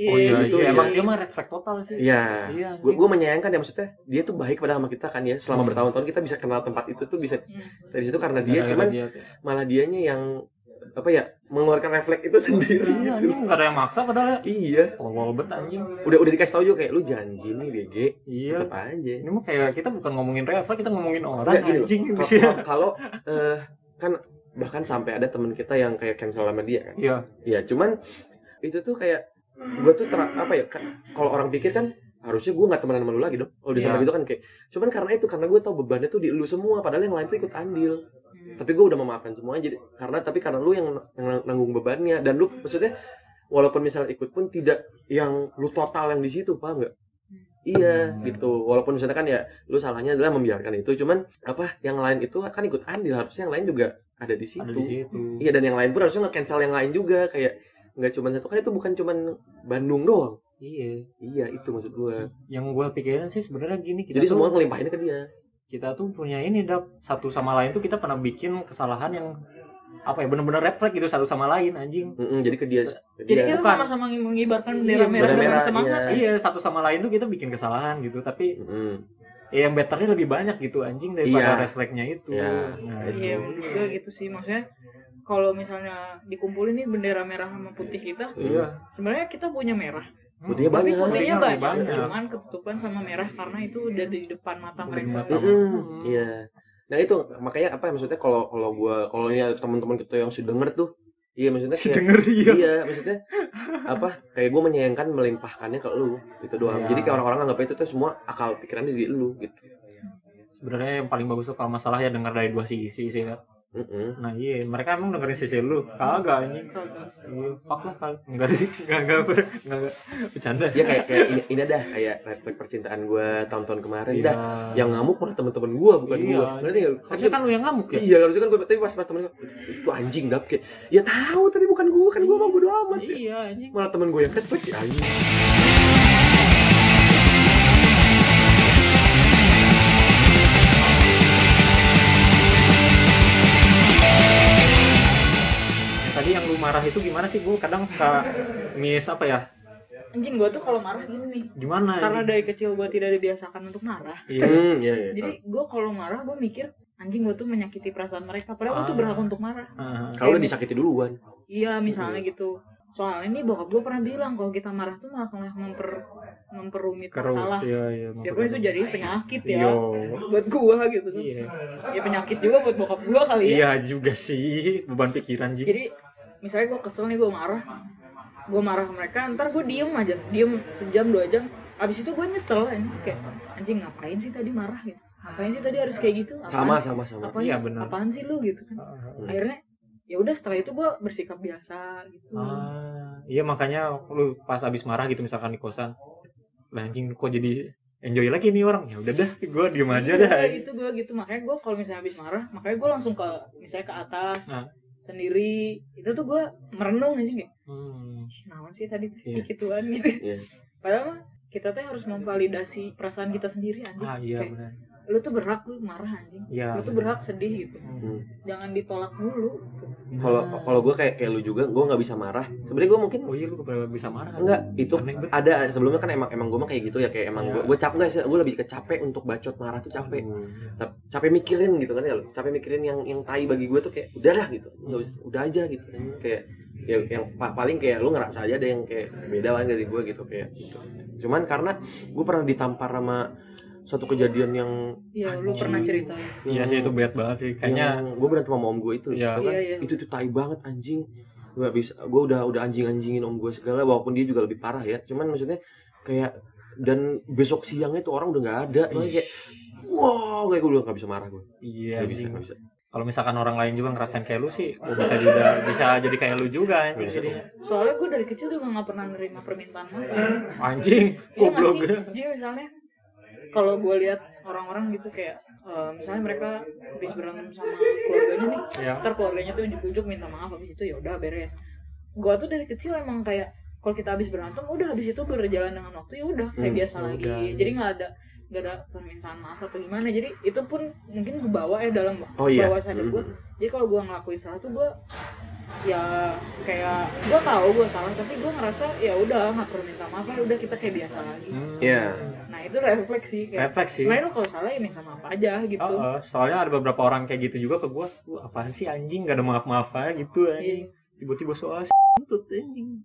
S2: oh iya,
S3: Iya,
S2: iya.
S3: iya.
S2: emang dia mah refleks total sih
S3: Iya.
S2: Iya,
S3: Gue gue menyayangkan ya maksudnya dia tuh baik pada sama kita kan ya. Selama
S2: Hmm.
S3: bertahun-tahun kita bisa kenal tempat itu tuh bisa dari situ karena dia
S2: Gara-gara
S3: cuman
S2: dia tuh.
S3: malah dianya yang apa ya mengeluarkan refleks itu sendiri.
S2: iya anjing nggak ada yang maksa padahal ya
S3: Iya.
S2: tolol bet anjing
S3: Udah udah dikasih tau juga kayak lu jangan gini BG.
S2: iya
S3: Tetap aja.
S2: ini mah kayak kita bukan ngomongin refleks kita ngomongin orang
S3: Nggak, gini loh.
S2: anjing Iya.
S3: Kalau- kalau- iya. Kalau eh, kan bahkan sampai ada teman kita yang kayak cancel sama dia kan.
S2: iya
S3: Ya cuman itu tuh kayak gue tuh ter apa ya kan, kalau orang pikir kan harusnya gue nggak temenan sama lu lagi dong kalau udah
S2: Iya.
S3: sampai gitu kan kayak cuman karena itu karena gue tau bebannya tuh di lu semua padahal yang lain tuh ikut andil tapi gue udah memaafkan semuanya jadi karena tapi karena lu yang, yang nanggung bebannya dan lu maksudnya walaupun misalnya ikut pun tidak yang lu total yang di situ paham nggak iya gitu walaupun misalnya kan ya lu salahnya adalah membiarkan itu cuman apa yang lain itu kan ikut andil harusnya yang lain juga ada di situ
S2: ada di situ
S3: Iya dan yang lain pun harusnya nge-cancel yang lain juga kayak nggak cuma satu kan itu bukan cuma Bandung doang.
S2: iya
S3: Iya itu maksud gue.
S2: yang gue pikirin sih sebenarnya gini kita
S3: Jadi
S2: tuh-
S3: semua ngelimpahinnya ke dia.
S2: kita tuh punya ini dap satu sama lain tuh kita pernah bikin kesalahan yang apa ya bener-bener refleks gitu satu sama lain anjing
S3: Mm-mm, jadi ke dia ke
S1: Jadi
S3: dia.
S1: kita
S2: bukan.
S1: sama-sama mengibarkan bendera
S2: Iya,
S1: merah
S3: bendera
S1: dengan
S3: merah,
S1: semangat.
S2: iya satu sama lain tuh kita bikin kesalahan gitu tapi
S3: Mm-mm.
S2: ya yang betternya lebih banyak gitu anjing daripada
S3: Iya.
S2: refleksnya itu
S3: Iya.
S2: nah,
S3: Iya.
S1: Iya, menurut gue gitu sih maksudnya. Kalau misalnya dikumpulin nih bendera merah sama putih kita,
S2: iya Hmm.
S1: sebenarnya kita punya merah.
S3: Putihnya
S1: Tapi
S3: banyak.
S1: putihnya
S2: Putihnya
S1: banyak,
S2: lebih Iya, banyak.
S1: cuman ketutupan sama merah karena itu udah di depan mata
S2: Udah di
S1: mereka.
S2: mata.
S3: Mm-mm,
S2: Mm.
S3: Iya. Nah itu makanya apa ya, maksudnya kalau kalau gua kalau ini ada teman-teman kita yang sudah denger tuh, iya maksudnya
S2: Si
S3: kayak,
S2: denger iya.
S3: iya maksudnya apa kayak gua menyayangkan melimpahkannya ke lu gitu doang.
S2: Iya.
S3: Jadi kayak orang-orang nganggap itu tuh semua akal pikirannya di lu gitu.
S2: Sebenarnya yang paling bagus tuh kalau masalah ya dengar dari dua sisi sih. Kak.
S3: Mm-mm.
S2: Nah iya, mereka emang dengerin sisi lu. Kagak anjing.
S1: Kagak.
S2: Iya, fuck lah kali. Enggak sih, enggak enggak enggak, enggak. bercanda.
S3: Ya kayak kayak ini, ini dah kayak red flag percintaan gua tahun-tahun kemarin dah. Yang ngamuk malah teman-teman gua Ya, bukan
S2: Iya.
S3: gua. Berarti nggak lu?
S2: Harusnya kan lu yang ngamuk ya.
S3: Iya, harusnya kan gua tapi pas pas temen gua itu anjing dap kayak ya tahu tapi bukan gua kan gua mau bodo amat.
S2: Iya anjing.
S3: Malah temen gua yang red flag si anjing.
S2: Tadi yang lu marah itu gimana sih? Gue kadang suka miss apa ya?
S1: Anjing gue tuh kalau marah gini nih.
S2: Gimana?
S1: Karena
S2: anjing?
S1: dari kecil gue tidak dibiasakan untuk marah.
S2: Iya.
S3: Hmm, iya iya.
S1: Jadi gue kalau marah gue mikir anjing gue tuh menyakiti perasaan mereka. Padahal gue tuh
S2: Ah.
S1: berhak untuk marah.
S2: Ah,
S3: Kalau udah disakiti duluan.
S1: Iya misalnya gitu. Soalnya nih bokap gue pernah bilang kalau kita marah tuh malah malah memper memperumit
S2: keruh.
S1: masalah.
S2: Iya iya.
S1: Ya pokoknya itu jadi penyakit ya.
S2: Yo.
S1: Buat gua gitu kan.
S2: Iya.
S1: Ya penyakit juga buat bokap gua kali ya.
S2: Iya juga sih beban pikiran jing.
S1: Jadi misalnya gua kesel nih gua marah. Gua marah ke mereka, ntar gua diem aja. Diem sejam dua jam. Abis itu gua nyesel ya. Kayak anjing ngapain sih tadi marah gitu. Ngapain sih tadi harus kayak gitu? Apaan
S3: Sama
S1: sih?
S3: sama sama.
S1: Apaan,
S2: Iya,
S1: sih-
S2: benar.
S1: apaan sih lu gitu kan.
S2: Ah,
S1: Akhirnya ya udah setelah itu gua bersikap biasa gitu.
S2: Ah, iya makanya lu pas abis marah gitu misalkan di kosan, lah anjing kok jadi enjoy lagi nih orang ya udah dah gue diem aja
S1: Iya,
S2: dah
S1: itu gue gitu makanya gue kalau misalnya habis marah makanya gue langsung ke misalnya ke atas
S2: Nah.
S1: sendiri itu tuh gue merenung aja kayak
S2: Hmm.
S1: "Ih, naon sih tadi
S3: Iya.
S1: gituan gitu
S3: Iya.
S1: padahal mah kita tuh harus memvalidasi perasaan kita sendiri anjing
S2: ah iya
S1: Kayak,
S2: benar
S1: lu tuh berhak lu marah anjing
S2: iya
S1: lu tuh berhak sedih gitu
S2: Hmm.
S1: jangan ditolak dulu gitu.
S3: Kalau kalau gue kayak kayak lu juga, gue nggak bisa marah. Sebenarnya gue mungkin
S2: oh iya lu keberapa bisa marah kan?
S3: Enggak, itu
S2: Aneh banget.
S3: ada sebelumnya kan emang emang gue mah kayak gitu ya kayak emang
S2: Iya.
S3: gue gue cap nggak sih gue lebih ke capek untuk bacot marah tuh capek
S2: Aduh.
S3: Cap- capek mikirin gitu kan ya lo capek mikirin yang yang tai bagi gue tuh kayak udah lah gitu nggak usah udah aja gitu
S2: Hmm.
S3: kayak ya, yang pa- paling kayak lu ngerasa aja ada yang kayak beda lah dari gue gitu kayak gitu. cuman karena gue pernah ditampar sama suatu kejadian yang
S1: ya lu
S3: Anjing.
S1: pernah ceritain
S2: iya sih itu bad banget sih kayaknya
S3: gue berantem sama om gue itu
S2: Iya.
S3: tau kan?
S1: Iya, iya.
S3: itu tuh tai banget anjing gue bisa gue udah udah anjing anjingin om gue segala walaupun dia juga lebih parah ya cuman maksudnya kayak dan besok siangnya tuh orang udah nggak ada Makanya kayak wow kayak gue udah nggak bisa marah gue
S2: iya
S3: nggak bisa
S2: anjing.
S3: nggak bisa
S2: kalau misalkan orang lain juga ngerasain kayak lu sih oh, bisa juga bisa jadi kayak lu juga
S1: Iya.
S2: anjing
S3: Bisa.
S2: jadinya.
S1: soalnya gue dari kecil juga nggak pernah nerima permintaan maaf ya.
S2: anjing
S1: Iya nggak
S2: goblok
S1: sih? Jadi misalnya kalau gue lihat orang-orang gitu kayak eh, misalnya mereka habis berantem sama keluarganya nih,
S2: Iya.
S1: ntar keluarganya tuh ujuk-ujuk minta maaf habis itu ya udah beres. Gue tuh dari kecil emang kayak kalau kita habis berantem udah habis itu berjalan dengan waktu ya udah kayak
S3: Hmm,
S1: biasa
S2: ya
S1: lagi.
S2: udah.
S1: Jadi nggak ada nggak ada permintaan maaf atau gimana. Jadi itu pun mungkin gue bawa ya dalam
S3: oh iya
S1: bawah sadar gue.
S2: Hmm.
S1: Jadi kalau gue ngelakuin salah tuh gue ya kayak gue tahu gue salah tapi gue ngerasa ya udah nggak perlu minta maaf ya udah kita kayak biasa lagi.
S2: Hmm.
S3: Iya.
S1: Nah itu refleks sih kayak
S2: refleks sih
S1: sebenarnya lo kalau salah ya minta maaf aja gitu.
S2: Oh, oh, soalnya ada beberapa orang kayak gitu juga ke gua. Lu apaan sih anjing gak ada maaf maafnya gitu
S1: Iya,
S2: anjing. Tiba-tiba soal s- tuh anjing.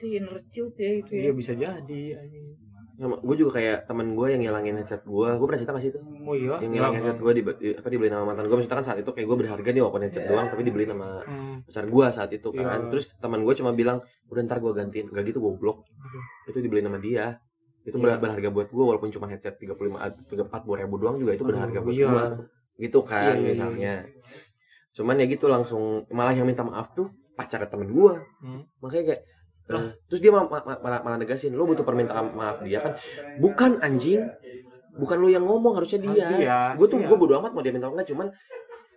S1: itu inner child ya itu ya.
S2: Iya bisa jadi anjing.
S3: gue juga kayak temen gue yang ngilangin headset gue gue pernah cerita nggak sih itu
S2: Oh iya.
S3: yang
S2: hilang.
S3: ngilangin headset gue di, di- apa dibeliin sama mantan gue maksudnya kan saat itu kayak gue berharga nih walaupun headset
S2: Iya.
S3: doang tapi dibeliin sama
S2: Hmm.
S3: pacar gue saat itu kan
S2: Iya.
S3: terus teman gue cuma bilang udah ntar gue gantiin gak gitu gue blok itu dibeliin sama dia itu
S2: Iya.
S3: ber- berharga buat gue walaupun cuma headset tiga puluh lima empat puluh ribu doang juga itu berharga buat
S2: Iya.
S3: gue gitu
S2: Iya,
S3: kan
S2: iya, iya.
S3: misalnya cuman ya gitu langsung malah yang minta maaf tuh pacar temen gue
S2: Hmm.
S3: makanya kayak eh, terus dia ma- ma- ma- malah, malah negasin lo butuh permintaan maaf dia kan bukan anjing bukan lo yang ngomong harusnya dia
S2: Iya,
S3: gue tuh
S2: iya.
S3: gue bodo amat mau dia minta apa enggak cuman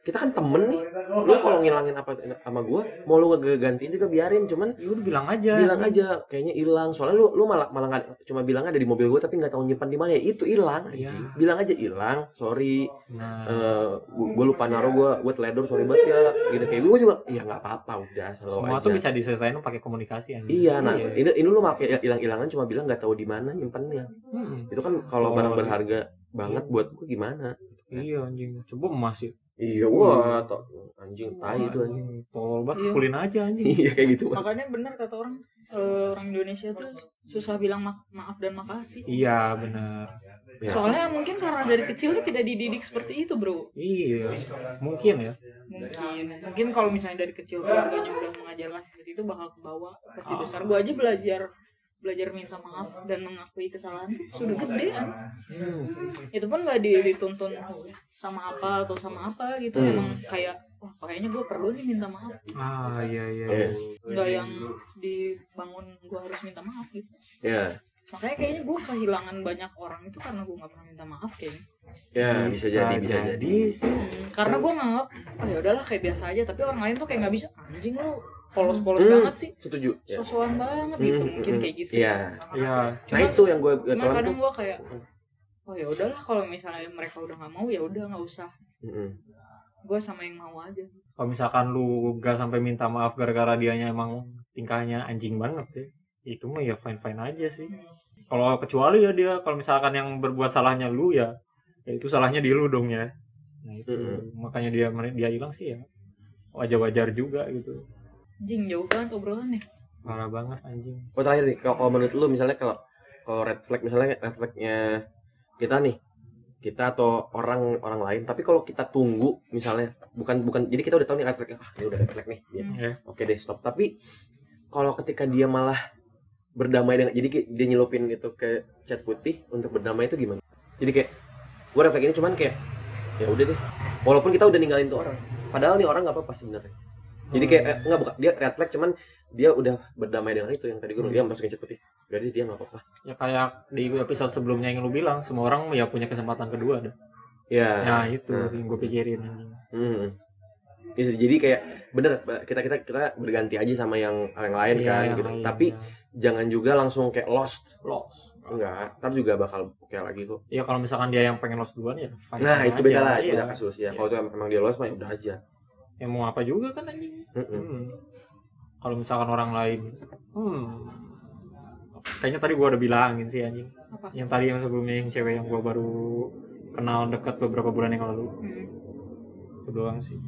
S3: kita kan temen nih
S2: Oh,
S3: lu kalau ngilangin apa sama gua mau lu gantiin juga biarin cuman
S2: Ya udah bilang aja.
S3: bilang aja kayaknya hilang soalnya lu lu malah malah nggak- cuma bilang ada di mobil gua tapi nggak tahu nyimpan di mana ya itu hilang
S2: Iya.
S3: anjing bilang aja hilang sorry
S2: Nah,
S3: eh gue lupa naruh gue gue teledor sorry banget ya gitu kayak gue juga ya nggak apa-apa udah slow
S2: semua
S3: aja
S2: tuh bisa diselesaikan pakai komunikasi anjing.
S3: iya nah ini ini lu malah kayak hilang-hilangan cuma bilang nggak tahu di mana nyimpannya
S2: Mm-mm.
S3: itu kan kalau
S2: Oh,
S3: barang
S2: iya.
S3: berharga banget buat gue gimana
S2: Iya anjing. Coba emas ya. Hmm,
S3: iya wah to- anjing tai Iya, itu anjing
S2: Tolol banget
S1: Iya.
S2: kulin aja anjing.
S3: iya kayak gitu Bang.
S1: makanya benar kata orang eh, orang Indonesia tuh susah bilang ma- maaf dan makasih
S2: Iya benar.
S3: Ya.
S1: soalnya mungkin karena dari kecil dia tidak dididik seperti itu bro
S2: Iya. Mungkin ya.
S1: mungkin mungkin kalau misalnya dari kecil keluarganya udah mengajarkan seperti itu bakal ke bawah
S3: Ah.
S1: pasti besar gua aja belajar belajar minta maaf dan mengakui kesalahan sudah gede kan
S2: Hmm.
S1: itu pun nggak di- dituntun sama apa atau sama apa gitu
S3: Hmm.
S1: emang kayak wah kayaknya gue perlu nih minta maaf
S2: Ah iya iya.
S3: Iya.
S1: nggak yang dibangun gue harus minta maaf gitu
S3: ya
S1: makanya kayaknya gue kehilangan banyak orang itu karena gue nggak pernah minta maaf kayaknya
S3: ya bisa jadi bisa jadi
S2: sih.
S1: Hmm, karena gue nganggap ah ya udahlah kayak biasa aja tapi orang lain tuh kayak nggak bisa anjing lu polos-polos
S3: Hmm.
S1: banget sih
S3: setuju ya
S1: sosokan banget gitu
S3: Mm,
S1: mungkin
S3: mm,
S1: kayak gitu
S3: Iya.
S2: Iya.
S3: nah itu yang gue
S1: cuman
S3: tolak
S1: kadang
S3: tuh
S1: gue kayak oh ya udahlah kalau misalnya mereka udah nggak mau ya udah nggak usah
S3: Mm-mm.
S1: gue sama yang mau aja
S2: Kalau misalkan lu gak sampai minta maaf gara-gara dianya emang tingkahnya anjing banget ya. Itu mah ya fine-fine aja sih. Kalau kecuali ya dia kalau misalkan yang berbuat salahnya lu ya, ya itu salahnya di lu dong ya. Nah itu
S3: Mm-mm.
S2: makanya dia dia hilang sih ya. Wajar-wajar juga gitu.
S1: anjing jauh banget obrolannya
S2: Parah banget anjing.
S3: Oh terakhir nih, kalau kalau menurut lu misalnya kalau kalau red flag misalnya red flagnya kita nih, kita atau orang orang lain, tapi kalau kita tunggu misalnya bukan bukan jadi kita udah tahu nih red flagnya, ah ini udah red flag nih, ya,
S1: Hmm.
S2: Ya.
S3: oke deh stop. Tapi kalau ketika dia malah berdamai dengan jadi kayak dia nyelupin itu ke cat putih untuk berdamai itu gimana? Jadi kayak gua red flag ini cuman kayak ya udah deh, walaupun kita udah ninggalin tuh orang, padahal nih orang nggak apa-apa sebenarnya. Jadi kayak
S2: Oh, iya.
S3: eh, enggak bukan dia red flag cuman dia udah berdamai dengan itu yang tadi gue bilang dia masukin cat putih. Jadi dia nggak apa-apa.
S2: ya kayak di episode sebelumnya yang lu bilang semua orang ya punya kesempatan kedua dah.
S3: Ya.
S2: Nah, itu
S3: nah.
S2: yang gue pikirin anjing.
S3: Hmm. Iya, jadi kayak bener kita kita kita berganti aja sama yang yang lain
S2: Iya,
S3: kan
S2: yang
S3: gitu.
S2: lain,
S3: Tapi
S2: ya.
S3: jangan juga langsung kayak lost.
S2: loss.
S3: Enggak, ntar juga bakal kayak lagi kok.
S2: Ya kalau misalkan dia yang pengen loss duluan ya fine
S3: Nah, itu beda lah,
S2: Iya.
S3: itu beda kasus ya. Kalau itu emang dia lost mah ya udah aja.
S2: Ya mau apa juga kan anjing.
S3: Mm-mm.
S2: Hmm. Kalau misalkan orang lain hmm. Kayaknya tadi gua udah bilangin sih anjing.
S1: Apa?
S2: Yang tadi yang sebelumnya yang cewek yang gua baru kenal dekat beberapa bulan yang lalu.
S3: Iya.
S1: Hmm.
S2: Itu doang sih.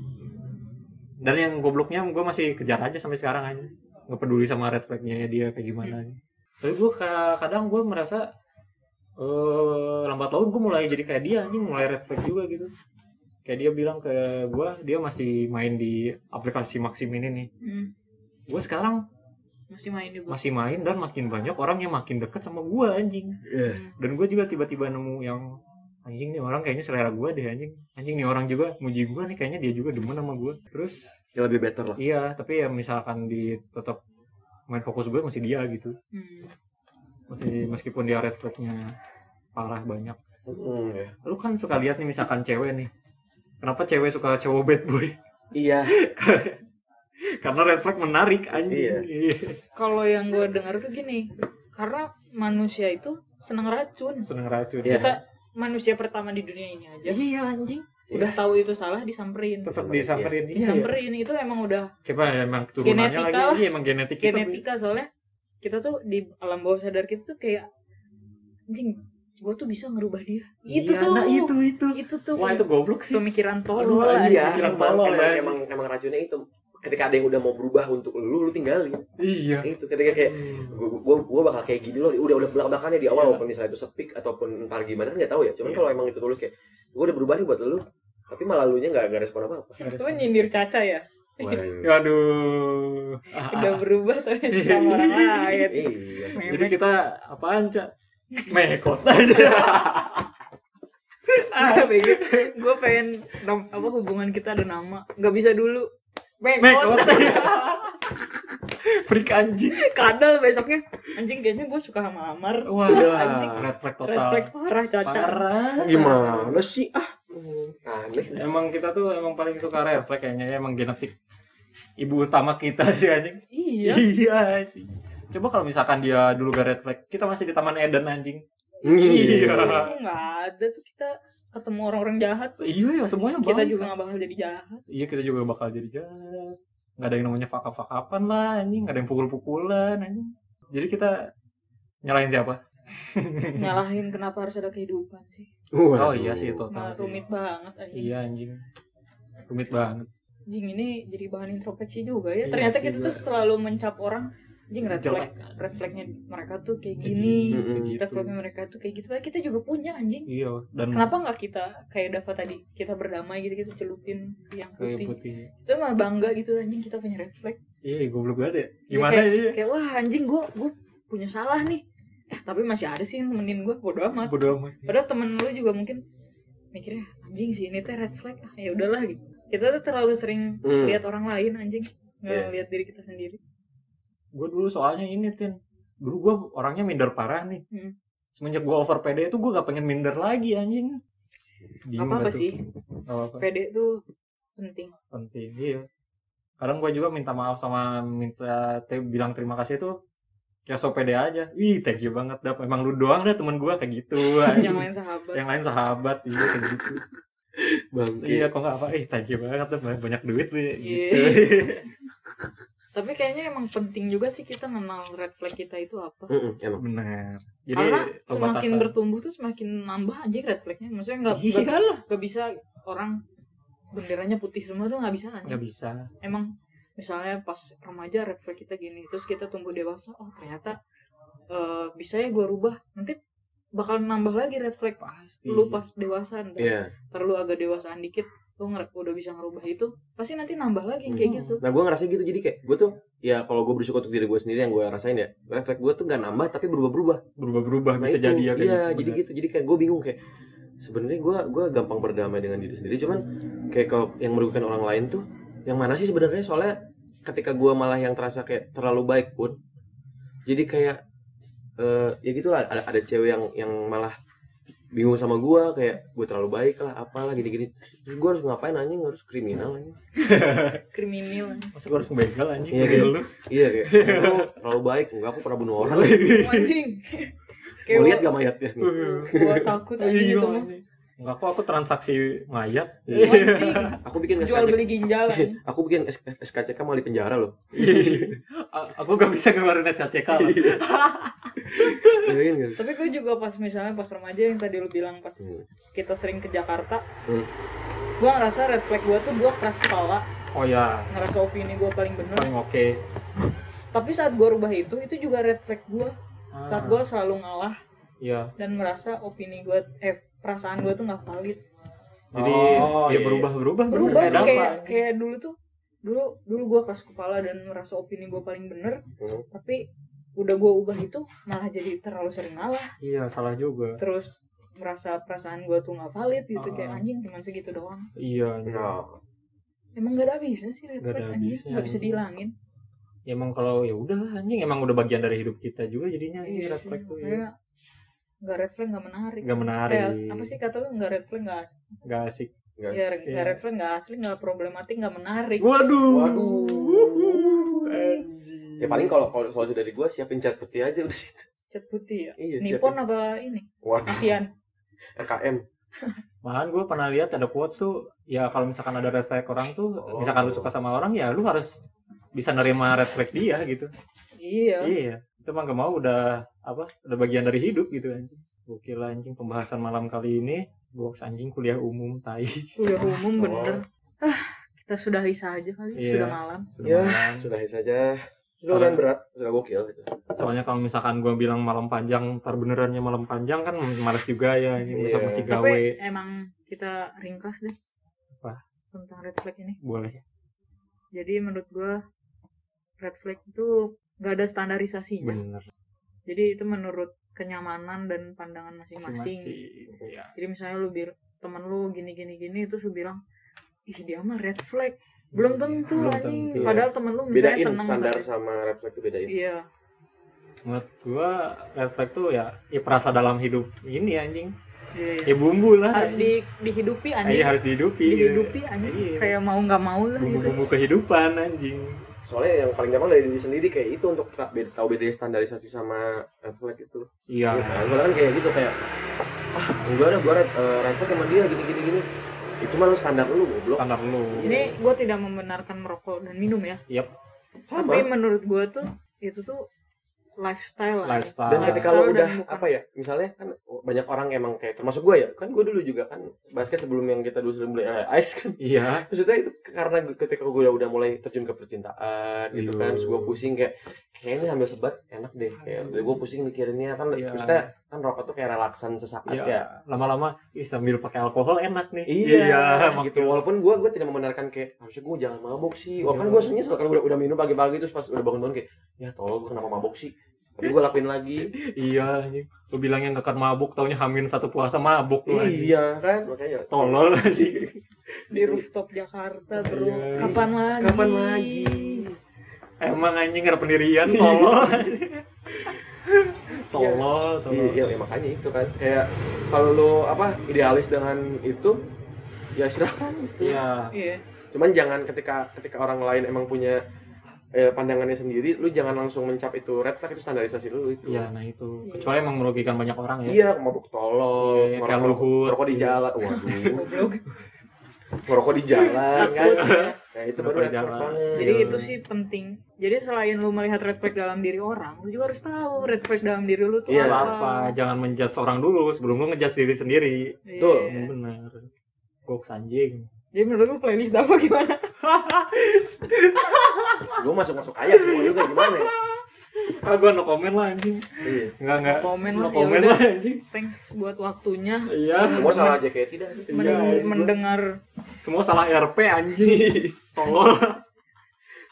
S2: Dan yang gobloknya gua masih kejar aja sampai sekarang aja. Nggak peduli sama red flagnya dia kayak gimana. Tapi gua ka- kadang gua merasa eh lambat laun gue mulai jadi kayak dia anjing mulai red flag juga gitu kayak dia bilang ke gua dia masih main di aplikasi Maxim ini nih
S1: Hmm.
S2: gue sekarang
S1: masih main di bawah
S2: masih main dan makin banyak orang yang makin deket sama gua anjing
S3: Iya.
S2: dan gue juga tiba-tiba nemu yang anjing nih orang kayaknya selera gua deh anjing anjing nih orang juga muji gua nih kayaknya dia juga demen sama gua terus
S3: Ya lebih better lah.
S2: iya tapi ya misalkan di tetap main fokus gue masih dia gitu
S1: Hmm.
S2: masih meskipun dia red flagnya parah banyak
S3: Mm, ya.
S2: lu kan suka lihat nih misalkan cewek nih kenapa cewek suka cowok bad boy
S3: Iya.
S2: karena red flag menarik anjing Iya.
S1: kalau yang gue dengar tuh gini karena manusia itu senang racun
S2: seneng racun
S3: Iya.
S1: kita manusia pertama di dunia ini aja
S2: iya anjing
S1: udah tahu itu salah disamperin
S2: tetap disamperin iya.
S1: disamperin itu emang udah
S2: Kayak apa, emang keturunannya
S1: Genetika
S2: lagi
S1: lah.
S2: iya emang genetik kita
S1: genetika soalnya kita tuh di alam bawah sadar kita tuh kayak anjing gue tuh bisa ngerubah dia itu
S2: Iya,
S1: tuh
S2: nah, itu itu
S1: itu tuh
S2: wah itu goblok sih
S1: pemikiran
S2: Aduh,
S1: tolol lah
S2: anjing.
S3: Iya,
S2: Pikiran
S3: emang,
S2: tolol
S3: emang,
S2: ya.
S3: emang, emang racunnya itu ketika ada yang udah mau berubah untuk lu, lu tinggalin.
S2: iya
S3: Itu ketika kayak gue gue gue bakal kayak gini loh udah udah belak belakannya di awal walaupun misalnya itu sepik ataupun entar gimana kan nggak tahu ya cuman
S2: Iya.
S3: kalau emang itu tulis kayak gue udah berubah nih buat lu tapi malah lu nya nggak nggak respon apa apa
S1: itu nyindir caca ya
S2: Iya. aduh Ah, ah.
S1: udah berubah tapi sama orang lain
S3: iya
S2: jadi kita apaan cak mekot aja
S1: gue Ah, pengen nom- apa hubungan kita ada nama nggak bisa dulu oh.
S2: mekot
S1: Mekot
S2: freak anjing
S1: kadal besoknya anjing kayaknya gue suka sama Amar
S2: wah
S3: Iya.
S2: anjing red flag Oh, total
S1: red flag parah caca
S2: parah
S3: gimana sih ah aneh
S2: Emang kita tuh emang paling suka red flag kayaknya emang genetik ibu utama kita sih anjing.
S1: iya
S2: anjing. Coba kalau misalkan dia dulu gak red flag, kita masih di Taman Eden anjing. Iya.
S1: itu nggak ada tuh kita ketemu orang-orang jahat
S2: Iya ya semuanya
S1: kita
S2: baik.
S1: juga nggak bakal jadi jahat
S2: Iya kita juga bakal jadi jahat. Nggak ada yang namanya fakap-fakapan lah anjing, nggak ada yang pukul-pukulan anjing. Jadi kita nyalain siapa?
S1: nyalahin kenapa harus ada kehidupan sih
S2: Oh iya sih
S1: nah,
S2: total. sih.
S1: rumit banget anjing
S2: Iya anjing. Rumit banget.
S1: Jing ini jadi bahan introspeksi juga ya
S2: Iya
S1: ternyata
S2: sih,
S1: kita
S2: gua-
S1: tuh selalu mencap orang Jing red flag
S2: Jelek.
S1: red flagnya mereka tuh kayak
S2: Kayak
S1: gini
S3: Mm-mm.
S2: gitu.
S1: red flagnya mereka tuh kayak gitu Padahal kita juga punya anjing
S2: Iya dan
S1: kenapa nggak kita kayak Dava tadi kita berdamai gitu kita celupin ke yang
S2: kayak
S1: putih
S2: putih.
S1: itu mah bangga gitu anjing kita punya red flag
S2: Iya, goblok banget ya.
S1: Iya,
S2: Gimana ya?
S1: kayak wah anjing gue gue punya salah nih eh tapi masih ada sih yang nemenin gue bodo amat
S2: Bodoh amat.
S1: Iya. padahal temen lu juga mungkin mikirnya anjing sih ini teh red flag ah ya udahlah gitu kita tuh terlalu sering
S3: Hmm.
S1: lihat orang lain anjing nggak
S3: Iya.
S1: lihat diri kita sendiri
S2: Gue dulu soalnya ini, Tin. Dulu gue orangnya minder parah nih.
S1: Hmm.
S2: Semenjak gue over PD itu gue gak pengen minder lagi anjing.
S1: Gak
S2: Bingung
S1: apa apa
S2: gak tuh?
S1: sih
S2: Gak apa-apa.
S1: pede tuh penting
S2: Penting, iya. Kadang gue juga minta maaf sama minta te- bilang terima kasih itu ya so pede aja. Ih, thank you banget. Dap. Emang lu doang deh temen gue kayak gitu. anjing.
S1: yang lain sahabat
S2: Yang lain sahabat, iya kayak gitu.
S3: bangke
S2: iya, kok gak apa? Eh, thank you banget. Dap. Banyak duit lu
S1: Iya.
S2: ya. Gitu.
S1: tapi kayaknya emang penting juga sih kita kenal red flag kita itu apa
S3: Mm-mm, emang
S2: Bener. Jadi,
S1: karena semakin
S2: pembatasan.
S1: bertumbuh tuh semakin nambah anjing red flagnya maksudnya nggak
S2: Iya
S1: nggak- nggak bisa orang benderanya putih semua tuh nggak bisa anjing
S2: nggak bisa
S1: emang misalnya pas remaja red flag kita gini terus kita tumbuh dewasa oh ternyata eh, bisa ya gue rubah nanti bakal nambah lagi red flag
S2: pasti
S1: lu pas dewasa ntar
S3: Hmm. iya
S1: ntar lu agak dewasaan dikit lu nger- udah bisa ngerubah itu pasti nanti nambah lagi kayak
S2: Hmm.
S1: gitu
S3: nah gue ngerasa gitu jadi kayak gue tuh ya kalau gue bersyukur untuk diri gue sendiri yang gue rasain ya refleks gue tuh gak nambah tapi berubah-berubah
S2: berubah-berubah
S3: Nah,
S2: bisa
S3: itu,
S2: jadi ya kayak
S3: iya
S2: gitu,
S3: jadi
S2: bener.
S3: gitu jadi kayak gue bingung kayak sebenarnya gue gue gampang berdamai dengan diri sendiri cuman kayak kalau yang merugikan orang lain tuh yang mana sih sebenarnya soalnya ketika gue malah yang terasa kayak terlalu baik pun jadi kayak eh ya gitulah ada, ada cewek yang yang malah bingung sama gue kayak gue terlalu baik lah apalah gini-gini terus gue harus ngapain anjing harus kriminal anjing
S1: kriminal
S2: masa gua harus ngebegal anjing
S3: Iya,
S2: kayak
S3: gitu.
S2: lu
S3: iya kayak "Lu terlalu baik enggak aku pernah bunuh orang
S1: anjing
S3: mau lihat
S1: kayak
S3: gak mayatnya nih
S1: gue takut gitu, anjing
S2: Iya,
S1: itu mah
S2: anjing. Enggak kok aku transaksi mayat
S1: anjing
S3: aku bikin
S1: Iya. jual
S3: SKCK
S1: beli ginjal anjing.
S3: Iya, aku bikin S- SKCK malah di penjara loh
S2: Iya. A- aku gak bisa ngeluarin SKCK lah.
S3: Iya, kan?
S1: tapi gue juga pas misalnya pas remaja yang tadi lu bilang pas
S3: Hmm.
S1: kita sering ke Jakarta
S3: Hmm.
S1: gue ngerasa red flag gue tuh gue keras kepala
S2: oh ya
S1: ngerasa opini gue paling bener
S2: paling oke
S1: tapi saat gue rubah itu itu juga red flag gue saat
S2: Ah,
S1: gue selalu ngalah
S2: iya
S1: dan merasa opini gue eh perasaan gue tuh nggak valid
S2: jadi
S3: Oh,
S2: ya
S3: iya.
S2: berubah-berubah
S1: berubah
S2: bener.
S1: sih
S2: Ada
S1: kayak
S2: apa?
S1: kayak dulu tuh dulu dulu gue keras kepala dan merasa opini gue paling bener
S3: Hmm.
S1: tapi udah gue ubah itu malah jadi terlalu sering ngalah
S2: iya salah juga
S1: terus merasa perasaan gue tuh nggak valid gitu
S2: Ah.
S1: kayak anjing cuma segitu doang
S2: iya
S3: Nah,
S1: emang gak ada habisnya sih red
S2: Nggak
S1: flag
S2: ada
S1: anjing
S2: habisnya,
S1: nggak bisa
S2: anjing.
S1: dihilangin
S2: Ya, emang kalau ya udah anjing emang udah bagian dari hidup kita juga jadinya
S1: Iya,
S2: anjing red flag tuh ya.
S1: Kayak nggak red flag nggak menarik
S2: Nggak menarik.
S1: Eh, apa sih kata lu nggak red flag nggak asli
S2: nggak asik
S3: nggak
S1: ya
S2: Iya.
S1: nggak red flag nggak asli nggak problematik nggak menarik
S2: waduh
S3: Waduh.
S2: anjing
S3: Ya paling kalau kalau soal dari gue siapin cat putih aja udah situ.
S1: cat putih ya
S3: Iya,
S1: Nippon apa ini
S3: Waduh,
S1: Asian
S3: RKM.
S2: Malahan gue pernah lihat ada quote tuh, ya kalau misalkan ada red flag orang tuh,
S3: Oh.
S2: misalkan lu suka sama orang ya lu harus bisa nerima red flag dia gitu.
S1: iya
S2: Iya, itu mah gak mau udah apa? Udah bagian dari hidup gitu anjing. Gokil anjing pembahasan malam kali ini, box anjing kuliah umum tai.
S1: udah umum
S3: Oh.
S1: bener ah kita sudahi saja kali
S2: Iya.
S1: sudah malam
S2: Sudah
S3: Ya,
S2: malam.
S3: sudahi saja. Sudah lumayan berat, sudah gokil gitu.
S2: Soalnya kalau misalkan gue bilang malam panjang, ntar benerannya malam panjang kan males juga ya anjing
S3: Iya.
S2: besok mesti gawe.
S1: tapi emang kita ringkas deh
S2: Apa?
S1: tentang red flag ini
S2: Boleh.
S1: jadi menurut gua red flag itu nggak ada standarisasinya
S2: Bener.
S1: jadi itu menurut kenyamanan dan pandangan masing-masing
S2: Masing-masing. Iya.
S1: Jadi misalnya lu bir temen lu gini gini gini terus lu bilang ih dia mah red flag. Belum tentu
S2: Iya, Belum
S1: anjing.
S2: tentu, ya.
S1: Padahal temen lu misalnya
S3: Bedain
S1: seneng
S3: standar
S1: sama-
S3: sama refleks itu bedain.
S1: Iya.
S2: menurut gua red flag tuh ya ya perasa dalam hidup ini anjing
S1: Iya, iya.
S2: ya bumbu lah
S1: harus di, dihidupi anjing
S2: Iya harus dihidupi gitu.
S1: dihidupi anjing
S2: Iya.
S1: kayak mau nggak mau lah gitu
S2: bumbu-bumbu kehidupan anjing
S3: soalnya yang paling gampang dari diri sendiri kayak itu untuk tak beda, tahu beda standarisasi sama red flag itu
S2: iya
S3: Iya, kan? Soalnya kan kayak gitu kayak ah enggak ada gue red, eh, red flag sama dia gini gini gini itu mah lu standar lu goblok
S2: standar lu
S1: ini gue tidak membenarkan merokok dan minum ya
S2: Yap,
S1: tapi menurut gue tuh itu tuh lifestyle lah
S2: lifestyle.
S3: dan ketika lo
S1: Lifestyle
S3: udah
S1: dan bukan-
S3: apa ya misalnya kan banyak orang emang kayak termasuk gue ya kan gue dulu juga kan basket sebelum yang kita dulu sering beli air ice kan
S2: Iya,
S3: maksudnya itu karena gua- ketika gue udah, udah mulai terjun ke percintaan gitu
S2: Iya.
S3: kan terus gue pusing kayak kayaknya ambil sebat enak deh kayak gue pusing mikirinnya kan
S2: Iya.
S3: maksudnya kan rokok tuh kayak relaksan sesaat
S2: iya.
S3: ya
S2: Lama-lama ih, sambil pakai alkohol enak nih.
S3: Iya,
S2: emang
S3: gitu. Walaupun gue gue tidak membenarkan kayak harusnya gue jangan mabok sih. Walaupun gue sebenarnya kalau udah, udah minum pagi-pagi terus pas udah bangun-bangun kayak ya tolong gue kenapa mabok sih. Tapi gue lakuin lagi.
S2: Iya, anjing. Lu bilangnya yang kekat mabuk, taunya hamin satu puasa mabuk lu anjing.
S3: iya kan makanya.
S2: Tolol anjing.
S1: di rooftop Jakarta bro
S2: Iya.
S1: kapan lagi
S3: Kapan lagi?
S2: Emang anjing ada pendirian,
S3: Iya.
S2: tolol. tolol, tolol.
S3: Iya, iya, makanya itu kan kayak kalau lo apa idealis dengan itu ya silakan gitu.
S2: Iya.
S1: iya
S3: Cuman jangan ketika ketika orang lain emang punya eh, pandangannya sendiri, lu jangan langsung mencap itu red flag itu standarisasi lu itu.
S2: Iya, nah itu. Kecuali emang merugikan banyak orang ya.
S3: Iya, mabuk tolol,
S2: Iya, kayak
S3: ngerokok-
S2: Luhut.
S3: ngerokok di jalan. Waduh.
S1: goblok
S3: ngerokok di jalan kan
S1: Takut, ya.
S3: nah itu
S2: Ngerokok
S3: baru
S2: di jalan.
S3: red flag banget.
S1: Jadi
S2: Iya.
S1: itu sih penting. Jadi selain lu melihat red flag dalam diri orang, lu juga harus tahu red flag dalam diri lu tuh
S3: Iya.
S2: Apa, apa, jangan menjudge orang dulu sebelum lu ngejudge diri sendiri.
S1: Iya.
S3: Betul.
S2: Benar. Goks anjing.
S1: Jadi menurut lu playlist Dava gimana?
S3: gue masuk masuk aja semua juga gimana ya?
S2: Ah, gua no comment lah anjing.
S3: Iya.
S2: Enggak, enggak.
S1: No comment
S2: no
S1: lah,
S2: comment
S1: yaudah.
S2: lah anjing.
S1: Thanks buat waktunya.
S2: Iya.
S3: semua salah aja kayak tidak
S2: Iya,
S1: Men-
S2: guys, gua-
S1: mendengar
S2: semua salah RP anjing. Tolol.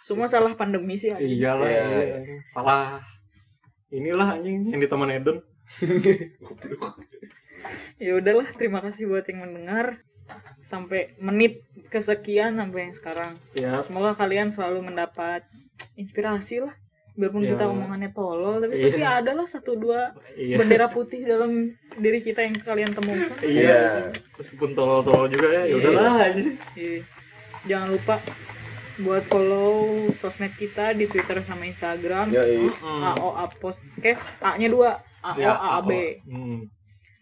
S1: semua salah pandemi sih. anjing.
S2: Iyalah,
S3: Iya.
S2: iya. salah. Inilah anjing yang di teman Eden.
S1: Ya udahlah, terima kasih buat yang mendengar sampai menit kesekian sampai yang sekarang.
S2: Ya,
S1: Semoga kalian selalu mendapat inspirasi lah. Biarpun
S2: Iya.
S1: kita omongannya tolol, tapi
S2: Iya.
S1: pasti ada lah satu dua
S2: iya.
S1: bendera putih dalam diri kita yang kalian temukan.
S2: Iya. Meskipun tolol-tolol juga ya, ya udahlah anjing.
S1: Iya. Jangan lupa buat follow sosmed kita di Twitter sama Instagram.
S3: ya iya
S1: AOA Podcast A-nya dua AO
S2: Iya,
S1: AAB.
S2: Ya, Hmm.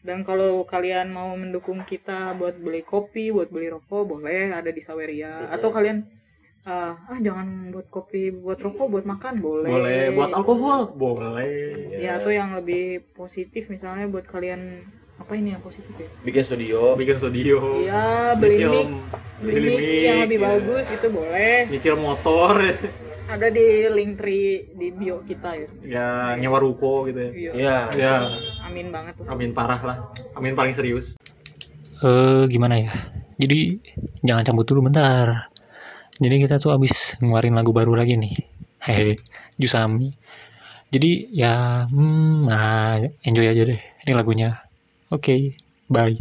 S1: Dan kalau kalian mau mendukung kita buat beli kopi, buat beli rokok, boleh ada di Saweria. Atau kalian eh, ah jangan buat kopi, buat rokok, buat makan boleh.
S2: Boleh buat alkohol, boleh.
S1: Ya atau yang lebih positif misalnya buat kalian apa ini yang positif ya?
S3: bikin studio
S2: Bikin studio.
S1: Ya beli
S2: Nyicil,
S1: mic, beli mic yang lebih
S2: ya.
S1: bagus itu boleh.
S2: Nyicil motor,
S1: ada di link tree di bio kita ya.
S2: ya nyewa ruko gitu ya.
S1: Bio.
S3: ya
S2: Ya,
S1: Iya, Amin banget tuh.
S2: amin parah lah. Amin paling serius.
S4: eh gimana ya? Jadi jangan cabut dulu bentar. Jadi kita tuh abis ngeluarin lagu baru lagi nih. Hehe, Jusami. Jadi ya, hmm, nah, enjoy aja deh. Ini lagunya. Oke, bye.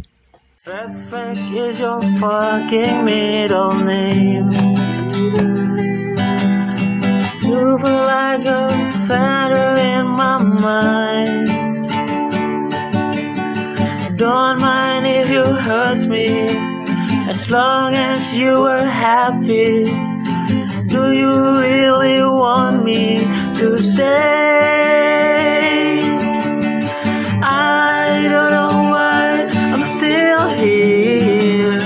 S4: Red flag is your fucking middle name. You feel like a feather in my mind. Don't mind if you hurt me, as long as you are happy. Do you really want me to stay? I don't know why I'm still here,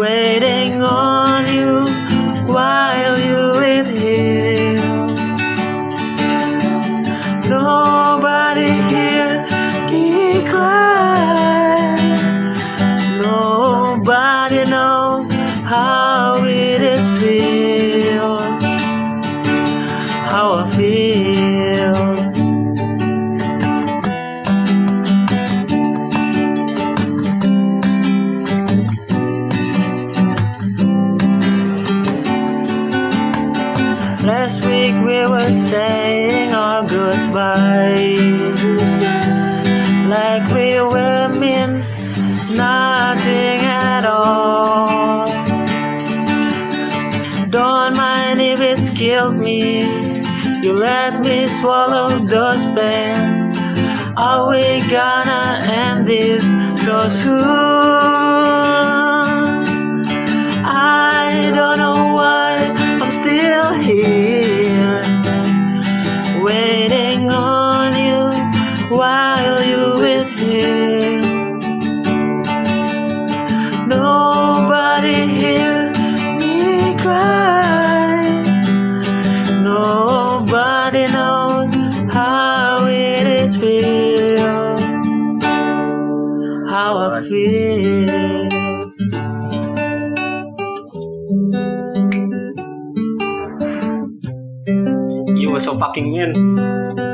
S4: waiting on you while you in here. Nobody here can cry. Nobody know how it is feels. How it feels. Last week we were saying our goodbye. Like we were mean nothing at all. Don't mind if it's killed me. You let me swallow dustpan. Are we gonna end this so soon? I don't know why I'm still here, waiting on you while you with him. Nobody hear me cry. Nobody knows how it is feels, how I feel. You were so fucking mean.